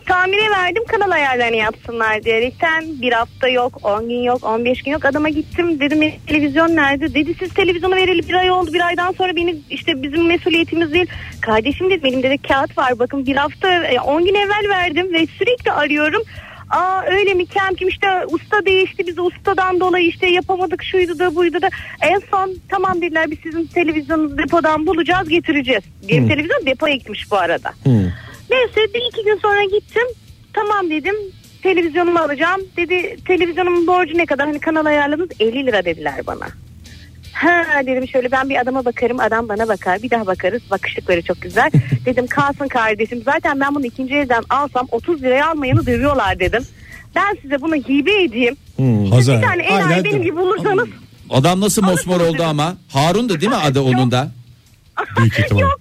[SPEAKER 8] Tamire verdim kanal ayarlarını yapsınlar diyerekten bir hafta yok 10 gün yok 15 gün yok adama gittim dedim "E, televizyon nerede dedi siz televizyonu vereli bir ay oldu bir aydan sonra beni işte bizim mesuliyetimiz değil kardeşim dedim elimde de kağıt var bakın bir hafta e, 10 gün evvel verdim ve sürekli arıyorum Aa öyle mi Kemkim işte usta değişti biz ustadan dolayı işte yapamadık şuydu da buydu da. En son tamam dediler biz sizin televizyonunuzu depodan bulacağız getireceğiz. Benim televizyon depoya gitmiş bu arada. Neyse bir iki gün sonra gittim tamam dedim televizyonumu alacağım. Dedi televizyonumun borcu ne kadar hani kanal ayarladınız 50 lira dediler bana. Ha dedim şöyle ben bir adama bakarım adam bana bakar bir daha bakarız bakışlıkları
[SPEAKER 3] (laughs)
[SPEAKER 8] çok güzel. dedim kalsın kardeşim zaten ben bunu ikinci elden alsam 30 liraya almayanı dövüyorlar dedim. Ben size bunu hibe edeyim.
[SPEAKER 4] Hmm,
[SPEAKER 9] Hazar.
[SPEAKER 8] Bir tane enayi
[SPEAKER 9] Aynen.
[SPEAKER 8] benim gibi bulursanız
[SPEAKER 3] Adam nasıl mosmor oldu ama. Harun da değil mi adı onun da?
[SPEAKER 4] Büyük ihtimal.
[SPEAKER 8] yok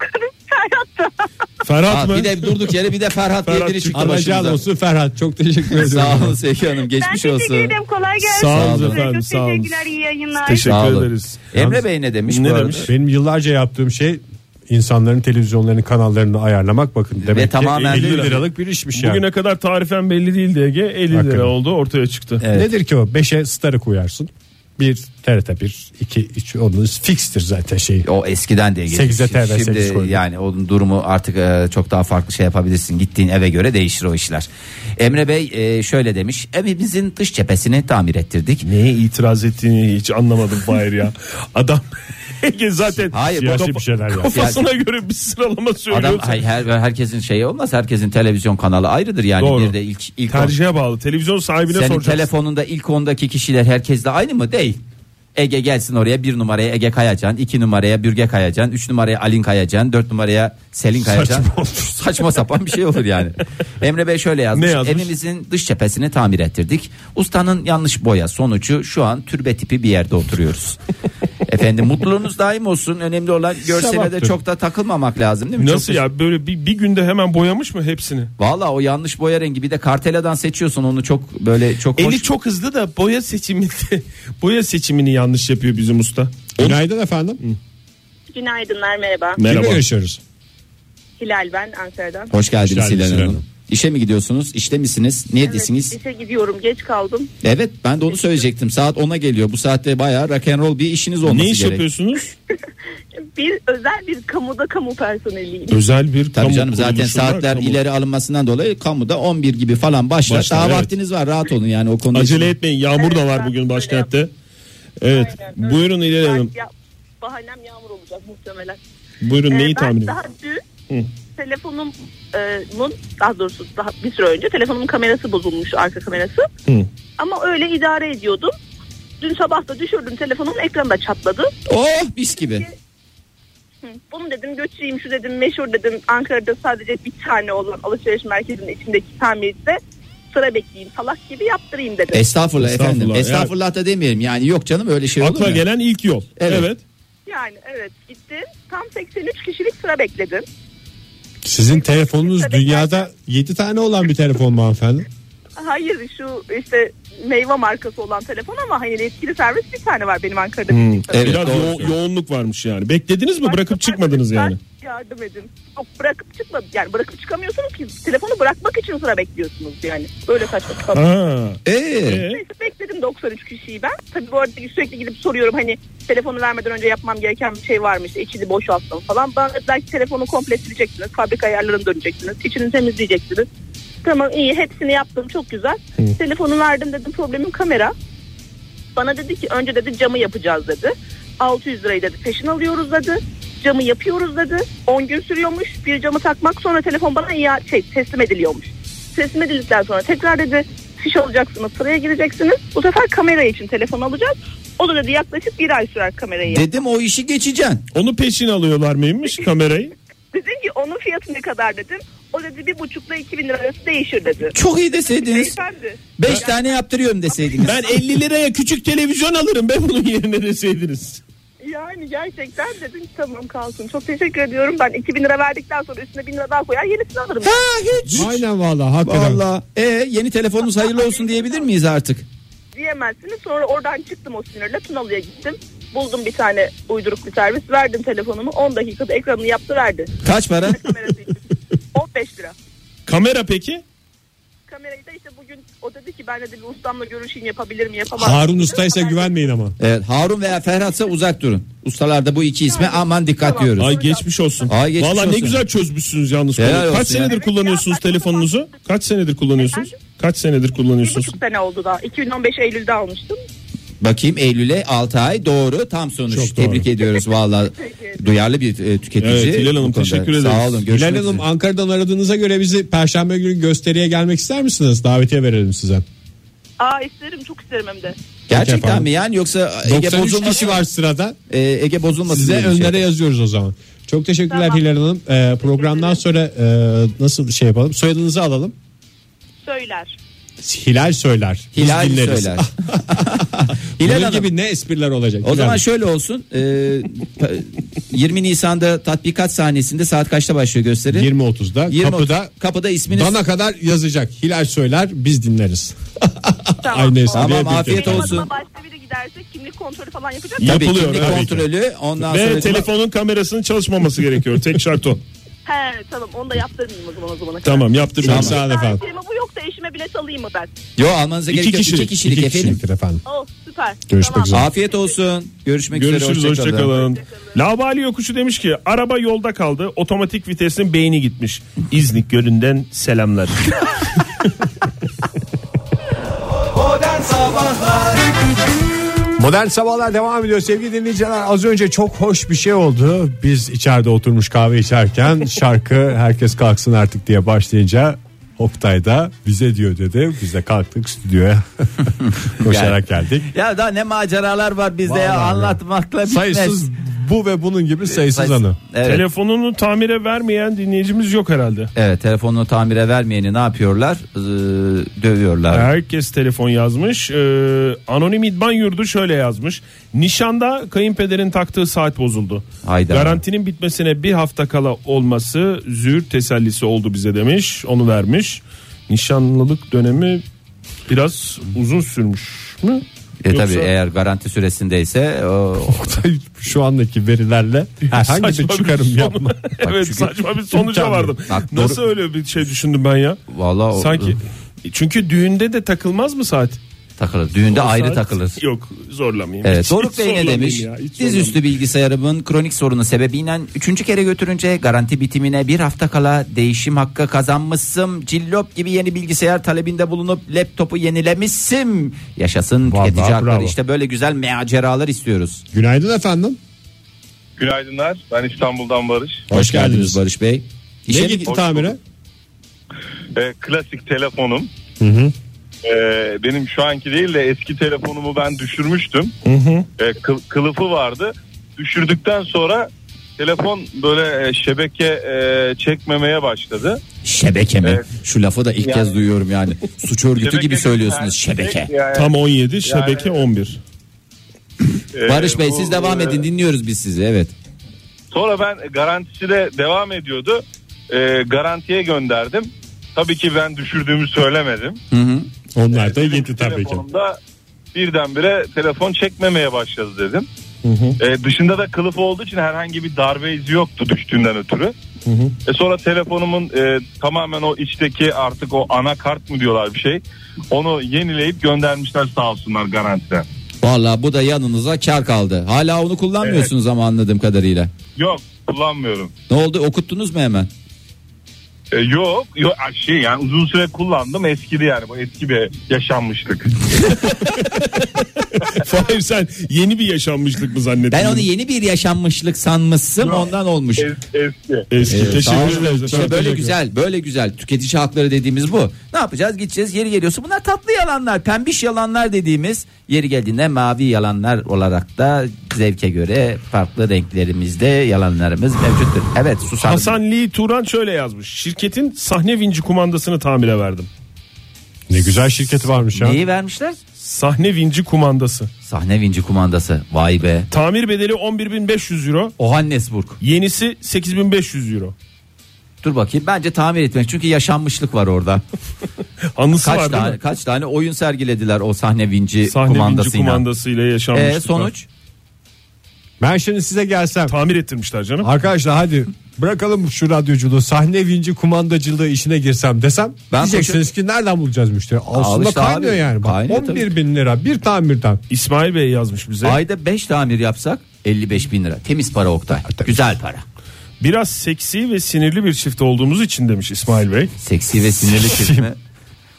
[SPEAKER 8] Ferhat'ta.
[SPEAKER 3] Aa,
[SPEAKER 2] Ferhat mı?
[SPEAKER 3] bir de durduk yere bir de Ferhat diye
[SPEAKER 2] Ferhat
[SPEAKER 3] biri çıktı
[SPEAKER 9] Anacağın
[SPEAKER 3] başımıza.
[SPEAKER 9] olsun Ferhat. Çok teşekkür ederim.
[SPEAKER 3] (laughs) Sağ olun Sevgi Hanım
[SPEAKER 8] Ben
[SPEAKER 3] geçmiş
[SPEAKER 8] teşekkür
[SPEAKER 3] olsun.
[SPEAKER 8] ederim kolay gelsin.
[SPEAKER 2] Sağ olun
[SPEAKER 3] Sağ olun.
[SPEAKER 2] efendim
[SPEAKER 8] Çok
[SPEAKER 2] sağ olun.
[SPEAKER 8] teşekkürler iyi yayınlar.
[SPEAKER 3] Sağ
[SPEAKER 2] Teşekkür
[SPEAKER 3] olun.
[SPEAKER 2] ederiz.
[SPEAKER 3] Emre Bey ne demiş
[SPEAKER 2] Ne
[SPEAKER 3] bu arada?
[SPEAKER 2] demiş?
[SPEAKER 4] Benim yıllarca yaptığım şey insanların televizyonlarını kanallarını ayarlamak bakın demek ki
[SPEAKER 3] tamamen
[SPEAKER 4] 50
[SPEAKER 3] de-
[SPEAKER 4] liralık bir işmiş yani.
[SPEAKER 2] Bugüne kadar tarifen belli değildi Ege. 50
[SPEAKER 4] Hakikaten.
[SPEAKER 2] lira oldu ortaya çıktı.
[SPEAKER 3] Evet.
[SPEAKER 4] Nedir ki o? 5'e starı koyarsın. 1 TRT 1, 2, 3 onun fikstir zaten şey. şeyi.
[SPEAKER 3] O eskiden de geçmiş.
[SPEAKER 4] Sekize TV, sekiz
[SPEAKER 3] Şimdi
[SPEAKER 4] koydu.
[SPEAKER 3] yani onun durumu artık e, çok daha farklı şey yapabilirsin. Gittiğin eve göre değişir o işler. Emre Bey e, şöyle demiş. Evimizin dış cephesini tamir ettirdik.
[SPEAKER 2] Neye itiraz ettiğini hiç anlamadım Fahir ya. Adam (laughs) Ege zaten
[SPEAKER 3] Hayır,
[SPEAKER 2] kafa-
[SPEAKER 4] siyasi bir şeyler ya.
[SPEAKER 2] kafasına göre bir sıralama
[SPEAKER 3] Adam
[SPEAKER 2] söylüyor.
[SPEAKER 3] hay- her, herkesin şeyi olmaz. Herkesin televizyon kanalı ayrıdır yani.
[SPEAKER 2] Doğru.
[SPEAKER 3] Bir de ilk ilk on-
[SPEAKER 2] Tercihe bağlı. Televizyon sahibine
[SPEAKER 3] senin
[SPEAKER 2] soracaksın.
[SPEAKER 3] telefonunda ilk ondaki kişiler herkesle aynı mı? Değil. Ege gelsin oraya bir numaraya Ege Kayacan, iki numaraya Bürge Kayacan, üç numaraya Alin Kayacan, dört numaraya Selin Kayacan.
[SPEAKER 2] Saçma olur.
[SPEAKER 3] (laughs) Saçma sapan bir şey olur yani. Emre Bey şöyle yazmış.
[SPEAKER 2] Ne yazmış?
[SPEAKER 3] Evimizin dış cephesini tamir ettirdik. Ustanın yanlış boya sonucu şu an türbe tipi bir yerde
[SPEAKER 2] (laughs)
[SPEAKER 3] oturuyoruz. Efendim mutluluğunuz daim olsun. Önemli olan görsele de
[SPEAKER 4] Sevaptır.
[SPEAKER 3] çok da takılmamak lazım değil mi?
[SPEAKER 2] Nasıl
[SPEAKER 3] Çok-
[SPEAKER 2] ya böyle bir, bir günde hemen boyamış mı hepsini?
[SPEAKER 3] Valla o yanlış boya rengi bir de karteladan seçiyorsun onu çok böyle çok hoş.
[SPEAKER 2] Eli çok hızlı da boya seçiminde (laughs) boya seçimini yanlış yapıyor bizim usta.
[SPEAKER 4] Günaydın efendim.
[SPEAKER 10] Günaydınlar merhaba.
[SPEAKER 4] Kimle
[SPEAKER 2] Merhaba.
[SPEAKER 4] görüşüyoruz?
[SPEAKER 10] Hilal ben Ankara'dan.
[SPEAKER 3] Hoş geldiniz
[SPEAKER 4] Hoş geldiniz
[SPEAKER 3] Hilal
[SPEAKER 4] Hilal
[SPEAKER 3] Hanım.
[SPEAKER 4] Hanım.
[SPEAKER 3] İşe mi gidiyorsunuz? İşte misiniz? Neredesiniz? Evet.
[SPEAKER 10] İşe gidiyorum geç kaldım.
[SPEAKER 3] ben de onu söyleyecektim. Saat 10'a geliyor. Bu saatte bayağı rock and roll bir işiniz olması
[SPEAKER 2] Ne iş
[SPEAKER 3] gerek.
[SPEAKER 2] yapıyorsunuz?
[SPEAKER 10] Bir özel bir kamuda kamu personeliyim.
[SPEAKER 2] Özel bir
[SPEAKER 3] Tabii
[SPEAKER 2] kamu
[SPEAKER 3] canım zaten
[SPEAKER 2] kuruluşunda
[SPEAKER 3] saatler
[SPEAKER 2] kamu-
[SPEAKER 3] ileri alınmasından dolayı kamuda 11 gibi falan başlar.
[SPEAKER 2] Başlar,
[SPEAKER 3] Daha
[SPEAKER 2] evet.
[SPEAKER 3] vaktiniz var rahat olun yani o konuda.
[SPEAKER 2] Acele etmeyin. Yağmur da var
[SPEAKER 10] ben
[SPEAKER 2] bugün
[SPEAKER 10] öyle
[SPEAKER 2] başkentte. Evet.
[SPEAKER 10] öyle.
[SPEAKER 2] Buyurun İlhan Hanım.
[SPEAKER 10] Ya, bahanem yağmur olacak muhtemelen.
[SPEAKER 2] Buyurun
[SPEAKER 10] Ee,
[SPEAKER 2] neyi
[SPEAKER 10] ben
[SPEAKER 2] tahmin ediyorsunuz?
[SPEAKER 10] daha dün telefonumun e, mun- daha doğrusu daha bir süre önce telefonumun kamerası bozulmuş arka kamerası.
[SPEAKER 2] Hı.
[SPEAKER 10] Ama öyle idare ediyordum. Dün sabah da düşürdüm telefonumun ekranı da çatladı.
[SPEAKER 3] Oh mis gibi.
[SPEAKER 10] Hı, Bunu dedim götüreyim şu dedim meşhur dedim Ankara'da sadece bir tane olan alışveriş merkezinin içindeki tamirde sıra bekleyeyim salak gibi yaptırayım dedim.
[SPEAKER 3] Estağfurullah, efendim.
[SPEAKER 2] Estağfurullah,
[SPEAKER 3] Estağfurullah da demeyelim. Yani yok canım öyle şey olur
[SPEAKER 2] Akla
[SPEAKER 3] mu?
[SPEAKER 2] gelen ilk yol.
[SPEAKER 3] Evet.
[SPEAKER 2] Evet.
[SPEAKER 10] Yani evet gittim tam 83 kişilik sıra bekledim.
[SPEAKER 4] Sizin telefonunuz dünyada 7 tane olan bir telefon mu hanımefendi?
[SPEAKER 10] Hayır şu işte meyve markası olan telefon ama hani yetkili servis bir tane var benim Ankara'da. bildiğim kadarıyla.
[SPEAKER 3] Hmm, Evet,
[SPEAKER 2] Biraz
[SPEAKER 3] doğru
[SPEAKER 2] yo-
[SPEAKER 3] söylüyorsun.
[SPEAKER 2] yoğunluk varmış yani. Beklediniz mi? Bırakıp
[SPEAKER 10] Başka
[SPEAKER 2] çıkmadınız
[SPEAKER 10] arkadaşlar
[SPEAKER 2] yani.
[SPEAKER 10] Yardım edin. Yok bırakıp çıkmadı. Yani bırakıp çıkamıyorsunuz ki telefonu bırakmak için sıra bekliyorsunuz yani. Böyle saçma sapan.
[SPEAKER 2] Ha.
[SPEAKER 3] Ee,
[SPEAKER 2] Ee,
[SPEAKER 10] Neyse bekledim 93 kişiyi ben. Tabii bu arada sürekli gidip soruyorum hani telefonu vermeden önce yapmam gereken bir şey var mı işte içini boşalttım falan. Bana dediler ki telefonu komple sileceksiniz, fabrika ayarlarını döneceksiniz, içini temizleyeceksiniz. Tamam iyi hepsini yaptım çok güzel. Telefonu verdim dedim problemim kamera. Bana dedi ki önce dedi camı yapacağız dedi. 600 lirayı dedi peşin alıyoruz dedi. Camı yapıyoruz dedi. 10 gün sürüyormuş. Bir camı takmak sonra telefon bana ya şey teslim ediliyormuş. Teslim edildikten sonra tekrar dedi fiş alacaksınız sıraya gireceksiniz. Bu sefer kamera için telefon alacağız. O da dedi yaklaşık bir ay sürer kamerayı.
[SPEAKER 3] dedim o işi geçeceksin.
[SPEAKER 2] onu peşin alıyorlar mıymış kamerayı?
[SPEAKER 10] Dedim ki onun fiyatı ne kadar dedim. O dedi bir buçukla iki bin lira arası değişir dedi.
[SPEAKER 3] Çok iyi deseydiniz.
[SPEAKER 10] Beyefendi.
[SPEAKER 3] 5 tane yaptırıyorum deseydiniz.
[SPEAKER 2] Ben 50 liraya küçük televizyon alırım ben bunun yerine deseydiniz.
[SPEAKER 10] Yani gerçekten dedim ki tamam kalsın. Çok teşekkür ediyorum. Ben 2000 lira verdikten sonra üstüne 1000 lira daha koyar yenisini alırım.
[SPEAKER 3] Ha hiç.
[SPEAKER 4] Aynen vallahi hakikaten.
[SPEAKER 3] Valla. Ee, yeni telefonunuz hayırlı olsun diyebilir miyiz artık?
[SPEAKER 10] diyemezsiniz. Sonra oradan çıktım o sinirle Tunalı'ya gittim. Buldum bir tane uyduruk bir servis. Verdim telefonumu. 10 dakikada ekranını yaptı verdi.
[SPEAKER 3] Kaç para?
[SPEAKER 10] Kamerası için. 15 lira.
[SPEAKER 2] Kamera peki?
[SPEAKER 6] kamerayı da işte bugün o dedi ki ben dedi bir ustamla görüşeyim yapabilir mi yapamaz mı?"
[SPEAKER 9] Harun
[SPEAKER 6] dedi.
[SPEAKER 9] Usta'ysa
[SPEAKER 6] Ben de-
[SPEAKER 9] güvenmeyin ama.
[SPEAKER 3] Evet Harun veya Ferhat'sa uzak durun. Ustalarda bu iki isme aman dikkat
[SPEAKER 6] Tamam.
[SPEAKER 3] diyoruz.
[SPEAKER 9] Ay geçmiş olsun.
[SPEAKER 3] Ay geçmiş
[SPEAKER 9] Valla ne
[SPEAKER 3] olsun.
[SPEAKER 9] güzel çözmüşsünüz yalnız.
[SPEAKER 3] Helal
[SPEAKER 9] konuyu.
[SPEAKER 3] olsun
[SPEAKER 9] Kaç
[SPEAKER 3] ya.
[SPEAKER 9] senedir kullanıyorsunuz telefonunuzu? Kaç senedir kullanıyorsunuz? Kaç senedir
[SPEAKER 6] Bir
[SPEAKER 9] kullanıyorsunuz?
[SPEAKER 6] buçuk sene oldu daha. 2015 Eylül'de almıştım.
[SPEAKER 3] Bakayım Eylül'e 6 ay doğru tam sonuç.
[SPEAKER 9] Çok doğru.
[SPEAKER 3] Tebrik ediyoruz valla. Duyarlı bir e, tüketici.
[SPEAKER 9] Evet, Hilal Hanım,
[SPEAKER 3] bu konuda.
[SPEAKER 9] teşekkür
[SPEAKER 3] Sağ
[SPEAKER 9] ederiz.
[SPEAKER 3] olun.
[SPEAKER 9] Hilal
[SPEAKER 3] Görüşmek
[SPEAKER 9] Hanım
[SPEAKER 3] üzere.
[SPEAKER 9] Ankara'dan aradığınıza göre bizi Perşembe günü gösteriye gelmek ister misiniz? Davetiye verelim size.
[SPEAKER 6] Aa isterim çok isterim hem de.
[SPEAKER 3] Gerçekten
[SPEAKER 9] efendim.
[SPEAKER 3] mi yani yoksa e, Ege
[SPEAKER 9] 93
[SPEAKER 3] bozulması
[SPEAKER 9] kişi var sırada.
[SPEAKER 3] E, Ege bozulması
[SPEAKER 9] Size
[SPEAKER 3] diye bir şey.
[SPEAKER 9] önlere yazıyoruz o zaman. Çok teşekkürler
[SPEAKER 6] Tamam.
[SPEAKER 9] Hilal Hanım. Ee, programdan sonra e, nasıl şey yapalım? Soyadınızı alalım.
[SPEAKER 6] Söyler.
[SPEAKER 9] Hilal söyler. Biz
[SPEAKER 3] Hilal
[SPEAKER 9] dinleriz. (laughs)
[SPEAKER 3] söyler.
[SPEAKER 9] Bunun
[SPEAKER 3] Hilal Hanım.
[SPEAKER 9] gibi ne espriler olacak?
[SPEAKER 3] O zaman
[SPEAKER 9] Hilal
[SPEAKER 3] şöyle olsun. e, pa- 20 Nisan'da tatbikat sahnesinde saat kaçta başlıyor gösteri?
[SPEAKER 9] Hanım. 20.30'da
[SPEAKER 3] 20
[SPEAKER 9] kapıda
[SPEAKER 3] kapıda isminiz.
[SPEAKER 9] Bana kadar yazacak. Hilal söyler biz dinleriz. (laughs) Aynı espriye
[SPEAKER 3] Tamam,
[SPEAKER 9] bir
[SPEAKER 3] afiyet
[SPEAKER 9] kere.
[SPEAKER 6] Benim
[SPEAKER 3] olsun.
[SPEAKER 6] adıma başka biri giderse kimlik kontrolü falan yapacak.
[SPEAKER 3] Tabii
[SPEAKER 9] Yapılıyor,
[SPEAKER 3] kimlik
[SPEAKER 9] tabii ki.
[SPEAKER 3] kontrolü ondan
[SPEAKER 9] Ve
[SPEAKER 3] sonra
[SPEAKER 9] telefonun kamerasının çalışmaması gerekiyor. Tek şart o.
[SPEAKER 6] He tamam onu da yaptırmayayım o zaman o zamana kadar.
[SPEAKER 9] Tamam yaptırmayın.
[SPEAKER 3] Tamam.
[SPEAKER 9] Sağ olun efendim.
[SPEAKER 6] Servisime bu yoksa eşime bilet alayım mı ben?
[SPEAKER 3] Yo almanıza gerek
[SPEAKER 9] İki
[SPEAKER 3] yok.
[SPEAKER 9] kişilik,
[SPEAKER 3] İki kişilik
[SPEAKER 9] iki
[SPEAKER 3] efendim.
[SPEAKER 9] kişiliktir efendim.
[SPEAKER 6] Oh süper.
[SPEAKER 9] Görüşmek
[SPEAKER 6] Tamam.
[SPEAKER 9] üzere.
[SPEAKER 3] Afiyet olsun. Görüşmek
[SPEAKER 2] Görüşürüz
[SPEAKER 3] üzere. hoşça kalın.
[SPEAKER 2] hoşçakalın. Labali yokuşu demiş ki araba yolda kaldı otomatik vitesin beyni gitmiş. İznik gölünden
[SPEAKER 3] (laughs)
[SPEAKER 2] selamlar.
[SPEAKER 4] Modern sabahlar devam ediyor sevgili dinleyiciler. Az önce çok hoş bir şey oldu. Biz içeride oturmuş
[SPEAKER 3] (laughs)
[SPEAKER 4] kahve içerken şarkı herkes kalksın artık diye başlayınca Oktay da bize diyor dedi. Biz de
[SPEAKER 3] (laughs)
[SPEAKER 4] kalktık stüdyoya koşarak geldik.
[SPEAKER 3] Ya daha ne maceralar var bizde ya
[SPEAKER 4] Vallahi.
[SPEAKER 3] anlatmakla bitmez.
[SPEAKER 4] Sayısız bu ve bunun gibi sayısız
[SPEAKER 3] Sayısız.
[SPEAKER 4] anı.
[SPEAKER 3] Evet.
[SPEAKER 2] Telefonunu tamire vermeyen dinleyicimiz yok herhalde.
[SPEAKER 3] Evet telefonunu tamire vermeyeni ne yapıyorlar? Ee, dövüyorlar.
[SPEAKER 2] Herkes telefon yazmış. Ee, anonim idman yurdu şöyle yazmış. Nişanda kayınpederin taktığı saat bozuldu.
[SPEAKER 3] Hayda.
[SPEAKER 2] Garantinin bitmesine bir hafta kala olması züğür tesellisi oldu bize demiş. Onu vermiş. Nişanlılık dönemi biraz uzun sürmüş mü?
[SPEAKER 3] E
[SPEAKER 2] Yoksa-
[SPEAKER 3] tabi eğer garanti süresindeyse
[SPEAKER 2] (laughs)
[SPEAKER 3] o,
[SPEAKER 4] Oktay şu andaki verilerle herhangi bir
[SPEAKER 2] Saçma bir
[SPEAKER 4] çıkarım
[SPEAKER 2] sonu.
[SPEAKER 4] yapma.
[SPEAKER 2] evet
[SPEAKER 3] çünkü-
[SPEAKER 2] saçma bir sonuca
[SPEAKER 4] Tabii.
[SPEAKER 2] vardım.
[SPEAKER 3] Bak, doğru-
[SPEAKER 2] Nasıl öyle bir şey düşündüm ben ya?
[SPEAKER 3] Vallahi o-
[SPEAKER 2] Sanki çünkü düğünde de takılmaz mı saat?
[SPEAKER 3] takılır. Düğünde
[SPEAKER 2] O
[SPEAKER 3] ayrı
[SPEAKER 2] saat-
[SPEAKER 3] takılır.
[SPEAKER 2] Yok zorlamayayım.
[SPEAKER 3] Evet,
[SPEAKER 2] Hiç-
[SPEAKER 3] Doruk
[SPEAKER 2] hiç
[SPEAKER 3] Bey ne
[SPEAKER 2] zorlamayayım
[SPEAKER 3] demiş?
[SPEAKER 2] ya, hiç zorlamayayım.
[SPEAKER 3] Dizüstü bilgisayarımın kronik sorunu sebebiyle üçüncü kere götürünce garanti bitimine bir hafta kala değişim hakkı kazanmışsın. Cillop gibi yeni bilgisayar talebinde bulunup laptopu yenilemişsin. Yaşasın
[SPEAKER 4] Vallahi
[SPEAKER 3] tüketici hakları.
[SPEAKER 4] bravo.
[SPEAKER 3] İşte böyle güzel maceralar istiyoruz.
[SPEAKER 9] Günaydın efendim.
[SPEAKER 11] Günaydınlar. Ben İstanbul'dan Barış.
[SPEAKER 9] Hoş, geldiniz.
[SPEAKER 3] Barış Bey. İşe
[SPEAKER 9] Ne
[SPEAKER 3] mi-
[SPEAKER 9] gitti
[SPEAKER 11] Hoş
[SPEAKER 9] tamire?
[SPEAKER 11] bulduk. Ee, klasik telefonum. Ee, benim şu anki değil de eski telefonumu ben düşürmüştüm. Ee, kıl- kılıfı vardı. Düşürdükten sonra telefon böyle e, şebeke e, çekmemeye başladı.
[SPEAKER 3] Şebeke mi?
[SPEAKER 11] Evet.
[SPEAKER 3] Şu lafı da ilk
[SPEAKER 11] Yani-
[SPEAKER 3] kez duyuyorum yani. Suç örgütü gibi
[SPEAKER 11] Şebeke-
[SPEAKER 3] söylüyorsunuz şebeke.
[SPEAKER 11] Yani- yani,
[SPEAKER 2] Tam 17 şebeke 11.
[SPEAKER 11] e,
[SPEAKER 3] Barış Bey
[SPEAKER 11] bu,
[SPEAKER 3] siz devam
[SPEAKER 11] e,
[SPEAKER 3] edin dinliyoruz biz sizi evet.
[SPEAKER 11] Sonra ben garantisi de devam ediyordu. Ee, garantiye gönderdim. Tabii ki ben düşürdüğümü söylemedim.
[SPEAKER 3] Hı hı.
[SPEAKER 9] Onlar da
[SPEAKER 11] Benim
[SPEAKER 9] gitti tabii ki.
[SPEAKER 11] telefonumda birdenbire telefon çekmemeye başladı dedim. Ee, dışında da kılıf olduğu için herhangi bir darbe izi yoktu düştüğünden ötürü. E sonra telefonumun e, tamamen o içteki artık o anakart mı diyorlar bir şey. Onu yenileyip göndermişler sağ olsunlar garantiden.
[SPEAKER 3] Valla bu da yanınıza kar kaldı. Hala onu kullanmıyorsunuz ama anladığım kadarıyla.
[SPEAKER 11] Yok kullanmıyorum.
[SPEAKER 3] Ne oldu okuttunuz mu hemen?
[SPEAKER 11] E, yok yok ay, şey yani uzun süre kullandım eskidi yani bu eski bir yaşanmışlık.
[SPEAKER 2] (laughs) Fahir sen yeni bir yaşanmışlık mı zannettin?
[SPEAKER 3] Ben onu yeni bir yaşanmışlık sanmışım ondan olmuş.
[SPEAKER 11] Es- eski.
[SPEAKER 2] Eski
[SPEAKER 3] Ee, sağ olun.
[SPEAKER 2] teşekkür ederiz.
[SPEAKER 3] İşte böyle
[SPEAKER 2] efendim. Teşekkür ederim.
[SPEAKER 3] güzel, böyle güzel. Tüketici hakları dediğimiz bu. Ne yapacağız? Gideceğiz. Yeri geliyorsa bunlar tatlı yalanlar, pembiş yalanlar dediğimiz yeri geldiğinde mavi yalanlar olarak da zevke göre farklı renklerimizde yalanlarımız mevcuttur. Evet, susadım.
[SPEAKER 2] Hasan Lee Turan şöyle yazmış. Şirketin sahne vinci kumandasını tamire verdim.
[SPEAKER 4] Ne güzel şirketi varmış ya.
[SPEAKER 3] Neyi vermişler?
[SPEAKER 2] Sahne vinci kumandası.
[SPEAKER 3] Sahne vinci kumandası. Vay be.
[SPEAKER 2] Tamir bedeli 11.500 euro.
[SPEAKER 3] Ohannesburg.
[SPEAKER 2] Yenisi 8500 euro.
[SPEAKER 3] Dur bakayım. Bence tamir etmek. Çünkü yaşanmışlık var orada.
[SPEAKER 2] (laughs) Anısı
[SPEAKER 3] Kaç
[SPEAKER 2] var değil
[SPEAKER 3] tane
[SPEAKER 2] mi?
[SPEAKER 3] kaç tane oyun sergilediler o sahne vinci
[SPEAKER 2] Sahne vinci
[SPEAKER 3] kumandasıyla.
[SPEAKER 2] kumandasıyla yaşanmışlık
[SPEAKER 3] E, sonuç
[SPEAKER 4] Ben şimdi size gelsem.
[SPEAKER 2] var. Tamir ettirmişler canım.
[SPEAKER 4] Arkadaşlar hadi Bırakalım şu radyoculuğu sahne vinci kumandacılığı işine girsem desem
[SPEAKER 3] Ben
[SPEAKER 4] diyeceksiniz ki nereden bulacağız müşteri? Aslında
[SPEAKER 3] işte
[SPEAKER 4] kaynıyor
[SPEAKER 3] abi.
[SPEAKER 4] yani. Bak,
[SPEAKER 3] Kaynıyor
[SPEAKER 4] 11 bin lira bir tamirden.
[SPEAKER 2] İsmail Bey yazmış bize.
[SPEAKER 3] Ayda 5 tamir yapsak 55 bin lira. Temiz para Oktay. Güzel para.
[SPEAKER 2] Biraz seksi ve sinirli bir çift olduğumuz için demiş İsmail Bey.
[SPEAKER 3] Seksi ve
[SPEAKER 2] (laughs)
[SPEAKER 3] sinirli çift mi?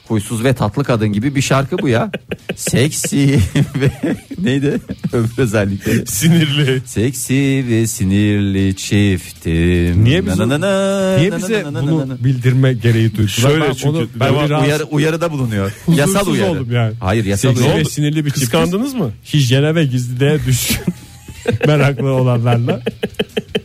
[SPEAKER 3] Huysuz ve tatlı kadın gibi bir şarkı bu ya. Seksi ve (laughs) neydi? Öbür özellikleri.
[SPEAKER 2] Sinirli.
[SPEAKER 3] Seksi ve sinirli çiftim.
[SPEAKER 4] Niye bize-
[SPEAKER 3] Na na na,
[SPEAKER 4] Niye
[SPEAKER 3] na
[SPEAKER 4] bize
[SPEAKER 3] na na na na.
[SPEAKER 4] bunu bildirme gereği duydular?
[SPEAKER 2] Şöyle
[SPEAKER 4] Ben
[SPEAKER 2] çünkü
[SPEAKER 4] onu-
[SPEAKER 2] devam-
[SPEAKER 4] bir rahatsız-
[SPEAKER 3] Uyarı, uyarıda bulunuyor.
[SPEAKER 4] (laughs) Huzursuz
[SPEAKER 3] yasal uyarı.
[SPEAKER 4] oldum yani.
[SPEAKER 3] Hayır yasal
[SPEAKER 4] Seksi
[SPEAKER 3] uyarı.
[SPEAKER 4] ve sinirli bir çift.
[SPEAKER 2] Kıskandınız mı?
[SPEAKER 4] Hijyene ve gizliliğe düşkün meraklı olanlarla.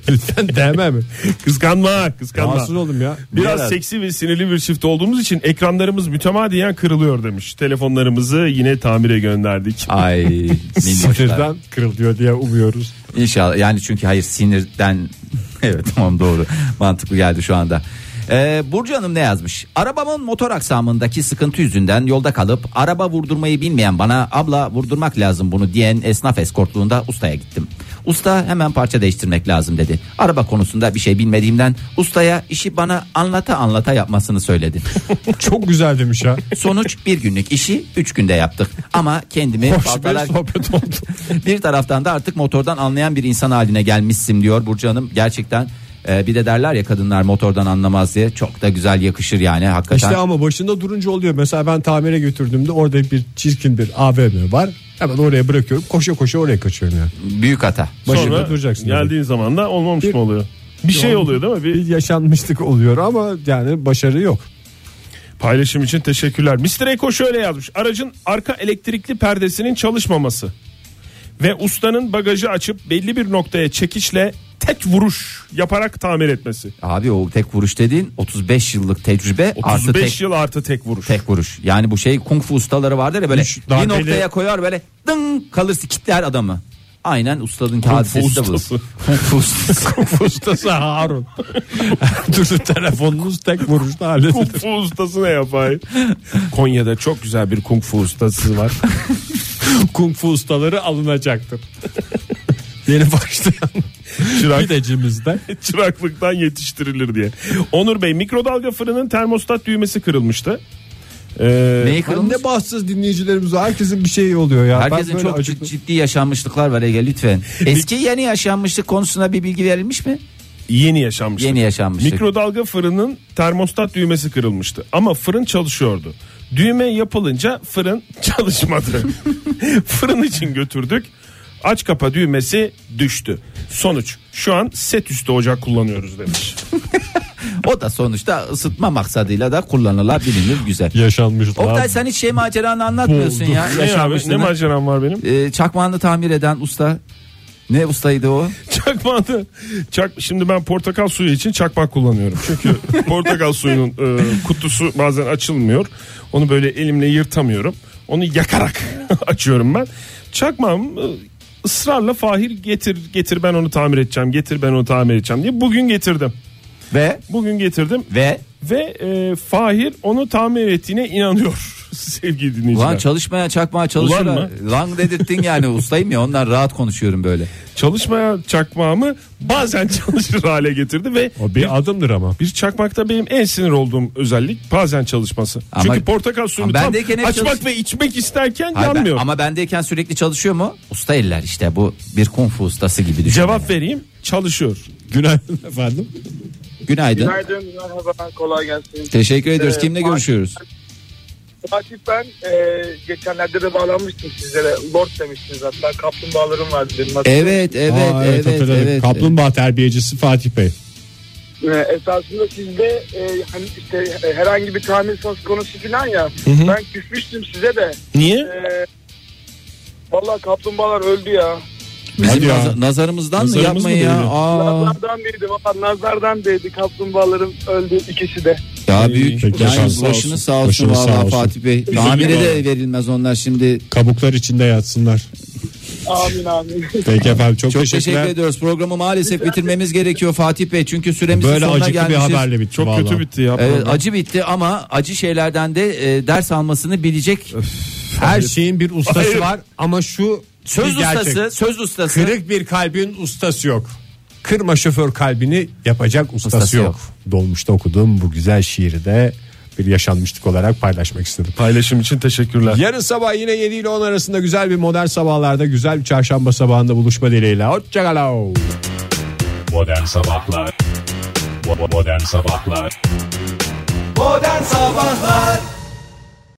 [SPEAKER 4] Lütfen deme mi?
[SPEAKER 2] (laughs) Kıskanma, kıskanma.
[SPEAKER 4] Rahatsız oldum ya.
[SPEAKER 2] Biraz
[SPEAKER 3] Biraz.
[SPEAKER 2] seksi ve sinirli bir çift olduğumuz için ekranlarımız mütemadiyen kırılıyor demiş. Telefonlarımızı yine tamire gönderdik. (laughs)
[SPEAKER 3] Ay minnoşlar.
[SPEAKER 4] Sinirden kırılıyor diye umuyoruz.
[SPEAKER 3] İnşallah yani çünkü hayır sinirden (laughs) evet tamam doğru mantıklı geldi şu anda. Ee, Burcu Hanım ne yazmış? Arabamın motor aksamındaki sıkıntı yüzünden yolda kalıp araba vurdurmayı bilmeyen bana abla vurdurmak lazım bunu diyen esnaf eskortluğunda ustaya gittim. Usta hemen parça değiştirmek lazım dedi. Araba konusunda bir şey bilmediğimden ustaya işi bana anlata anlata yapmasını söyledi.
[SPEAKER 4] (laughs) Çok güzel demiş ya.
[SPEAKER 3] Sonuç bir günlük işi 3 günde yaptık. Ama kendimi
[SPEAKER 4] Hoş bir
[SPEAKER 3] baltalar-
[SPEAKER 4] sohbet oldu.
[SPEAKER 3] (laughs) bir taraftan da artık motordan anlayan bir insan haline gelmişsin diyor Burcu Hanım. Gerçekten e, bir de derler ya kadınlar motordan anlamaz diye çok da güzel yakışır yani hakikaten.
[SPEAKER 4] İşte ama başında durunca oluyor. Mesela ben tamire götürdüğümde orada bir çirkin bir AVM var. Hemen oraya bırakıyorum. Koşa koşa oraya kaçıyorum yani.
[SPEAKER 3] Büyük hata.
[SPEAKER 4] Başında
[SPEAKER 2] Sonra
[SPEAKER 4] duracaksın.
[SPEAKER 2] Geldiğin zaman da olmamış
[SPEAKER 4] Bir-
[SPEAKER 2] mı oluyor? Bir şey oluyor değil mi? Bir
[SPEAKER 4] Bir yaşanmışlık oluyor ama yani başarı yok.
[SPEAKER 2] paylaşım için teşekkürler. Mr. Eko şöyle yazmış. Aracın arka elektrikli perdesinin çalışmaması ve ustanın bagajı açıp belli bir noktaya çekiçle tek vuruş yaparak tamir etmesi.
[SPEAKER 3] Abi o tek vuruş dediğin 35 yıllık tecrübe artı
[SPEAKER 2] 35
[SPEAKER 3] tek,
[SPEAKER 2] yıl artı tek vuruş.
[SPEAKER 3] tek vuruş. Yani bu şey kung fu ustaları vardır ya böyle
[SPEAKER 4] Üç
[SPEAKER 3] bir
[SPEAKER 4] darbeli-
[SPEAKER 3] noktaya koyar böyle dın kalırsa kitler adamı. Aynen ustadın hadisesi de bu.
[SPEAKER 2] ustası.
[SPEAKER 3] (laughs) Kung fu ustası.
[SPEAKER 4] (laughs)
[SPEAKER 3] (laughs)
[SPEAKER 4] Ustası Harun. Durdu telefonunuz tek vuruşta halledilir.
[SPEAKER 2] Kung fu ustası
[SPEAKER 4] (laughs)
[SPEAKER 2] ne yapar? Konya'da çok güzel bir kung fu ustası var.
[SPEAKER 4] Kung fu ustaları alınacaktır. Yeni başlayan
[SPEAKER 2] Çırak,
[SPEAKER 4] pidecimizden.
[SPEAKER 2] (laughs) çıraklıktan yetiştirilir diye. Onur Bey mikrodalga fırının termostat düğmesi kırılmıştı. Ee,
[SPEAKER 3] Neyi kırılmış?
[SPEAKER 4] Ne bahtsız dinleyicilerimiz var. herkesin bir şeyi oluyor ya.
[SPEAKER 3] Herkesin çok
[SPEAKER 4] acıklı-
[SPEAKER 3] ciddi yaşanmışlıklar var Ege lütfen. Eski yeni yaşanmışlık konusuna bir bilgi verilmiş mi?
[SPEAKER 2] Yeni yaşanmıştı.
[SPEAKER 3] Yeni yaşanmışlık.
[SPEAKER 2] Mikrodalga fırının termostat düğmesi kırılmıştı. Ama fırın çalışıyordu. Düğme yapılınca fırın (laughs) çalışmadı. (laughs) fırın için götürdük. Aç kapa düğmesi düştü. Sonuç şu an set üstü ocak kullanıyoruz demiş.
[SPEAKER 3] (laughs) O da sonuçta ısıtma maksadıyla da kullanılabilir güzel.
[SPEAKER 4] yaşanmışlar.
[SPEAKER 3] Oktay sen hiç şey maceranı anlatmıyorsun ya.
[SPEAKER 2] Ne, abi, ne
[SPEAKER 3] Yaşanmışlığını.
[SPEAKER 2] maceram var benim?
[SPEAKER 3] Ee, çakmağını tamir eden usta. Ne ustaydı
[SPEAKER 2] (laughs)
[SPEAKER 3] o?
[SPEAKER 2] Çakmağını. Çak, şimdi ben portakal suyu için çakmak kullanıyorum.
[SPEAKER 3] (laughs)
[SPEAKER 2] Çünkü portakal suyunun e, kutusu bazen açılmıyor. Onu böyle elimle yırtamıyorum. Onu yakarak (laughs) açıyorum ben. Çakmağım e, ısrarla Fahir getir getir ben onu tamir edeceğim. Getir ben onu tamir edeceğim diye bugün getirdim.
[SPEAKER 3] Ve
[SPEAKER 2] Bugün getirdim
[SPEAKER 3] ve
[SPEAKER 2] ve e, Fahir onu tamir ettiğine inanıyor (laughs) sevgili dinleyiciler.
[SPEAKER 3] ulan çalışmaya çakmağa çalışır.
[SPEAKER 2] Ulan
[SPEAKER 3] ha. Lan dedirttin yani ustayım ya ondan rahat konuşuyorum böyle.
[SPEAKER 2] Çalışmaya çakmağımı bazen (laughs) çalışır hale getirdi ve
[SPEAKER 4] O bir adımdır ama.
[SPEAKER 2] Bir çakmakta benim en sinir olduğum özellik bazen çalışması.
[SPEAKER 3] Ama-
[SPEAKER 2] Çünkü portakal suyunu
[SPEAKER 3] Ama
[SPEAKER 2] tam
[SPEAKER 3] bendeyken hep
[SPEAKER 2] açmak
[SPEAKER 3] çalış-
[SPEAKER 2] ve içmek isterken
[SPEAKER 3] Hayır, ben-
[SPEAKER 2] yanmıyor.
[SPEAKER 3] ama bendeyken sürekli çalışıyor mu? Usta eller işte bu bir kung fu ustası gibi düşün.
[SPEAKER 2] Cevap vereyim çalışıyor. (laughs)
[SPEAKER 4] Günaydın efendim.
[SPEAKER 3] Günaydın.
[SPEAKER 11] Günaydın, merhaba, kolay gelsin.
[SPEAKER 3] Teşekkür ediyoruz.
[SPEAKER 11] Ee,
[SPEAKER 3] Kimle
[SPEAKER 11] Fatih-
[SPEAKER 3] görüşüyoruz?
[SPEAKER 11] Fatih ben e, geçenlerde de bağlanmıştım sizlere. Lord demiştiniz hatta. Kaplumbağalarım vardı benim. hatta.
[SPEAKER 3] Evet, evet,
[SPEAKER 4] Aa,
[SPEAKER 3] evet, evet,
[SPEAKER 4] hatırladım. Kaplumbağa terbiyecisi Fatih Bey.
[SPEAKER 11] E, esasında sizde e, hani işte e, herhangi bir tamir söz konusu falan ya. Ben küsmüştüm size de.
[SPEAKER 2] Niye?
[SPEAKER 11] E, Valla kaplumbağalar öldü ya.
[SPEAKER 3] Bizim
[SPEAKER 4] Hadi ya.
[SPEAKER 3] naz- nazarımızdan mı
[SPEAKER 4] Nazarımız
[SPEAKER 3] yapmayın
[SPEAKER 4] mı
[SPEAKER 3] ya?
[SPEAKER 4] değdi?
[SPEAKER 3] Aa,
[SPEAKER 11] Nazardan değdi valla nazardan değdi. Kaplumbağalarım öldü ikisi de.
[SPEAKER 3] ya büyük
[SPEAKER 4] Peki,
[SPEAKER 3] Ee, yani
[SPEAKER 4] başınız sağ olsun.
[SPEAKER 3] başını sağ olsun
[SPEAKER 4] Başınız sağ
[SPEAKER 3] valla
[SPEAKER 4] olsun.
[SPEAKER 3] Fatih Bey.
[SPEAKER 4] Üzüldüm
[SPEAKER 3] Tamire de
[SPEAKER 4] valla.
[SPEAKER 3] verilmez onlar şimdi.
[SPEAKER 4] Kabuklar içinde yatsınlar.
[SPEAKER 11] Amin amin.
[SPEAKER 4] Peki efendim çok,
[SPEAKER 3] Çok teşekkür
[SPEAKER 4] teşekkürler.
[SPEAKER 3] ediyoruz. Programı maalesef bitirmemiz gerekiyor Fatih Bey. Çünkü süremizin
[SPEAKER 4] Böyle
[SPEAKER 3] sonuna
[SPEAKER 4] acıklı bir
[SPEAKER 3] gelmişiz.
[SPEAKER 4] haberle bitti
[SPEAKER 2] Çok
[SPEAKER 4] vallahi.
[SPEAKER 2] kötü bitti ya.
[SPEAKER 3] Evet,
[SPEAKER 2] program.
[SPEAKER 3] acı bitti ama acı şeylerden de e, ders almasını bilecek.
[SPEAKER 4] Her şeyin bir ustası var ama şu
[SPEAKER 3] Söz
[SPEAKER 4] bir gerçek.
[SPEAKER 3] ustası, söz ustası.
[SPEAKER 4] Kırık bir kalbin ustası yok. Kırma şoför kalbini yapacak ustası,
[SPEAKER 12] Ustası
[SPEAKER 4] yok.
[SPEAKER 12] yok.
[SPEAKER 4] Dolmuşta okuduğum bu güzel şiiri de bir yaşanmışlık olarak paylaşmak istedim.
[SPEAKER 13] Paylaşım için teşekkürler.
[SPEAKER 4] Yarın sabah yine 7 ile 10 arasında güzel bir modern sabahlarda güzel bir çarşamba sabahında buluşma dileğiyle. Hoşçakalın.
[SPEAKER 2] Modern Sabahlar Bo- Modern Sabahlar
[SPEAKER 10] Modern Sabahlar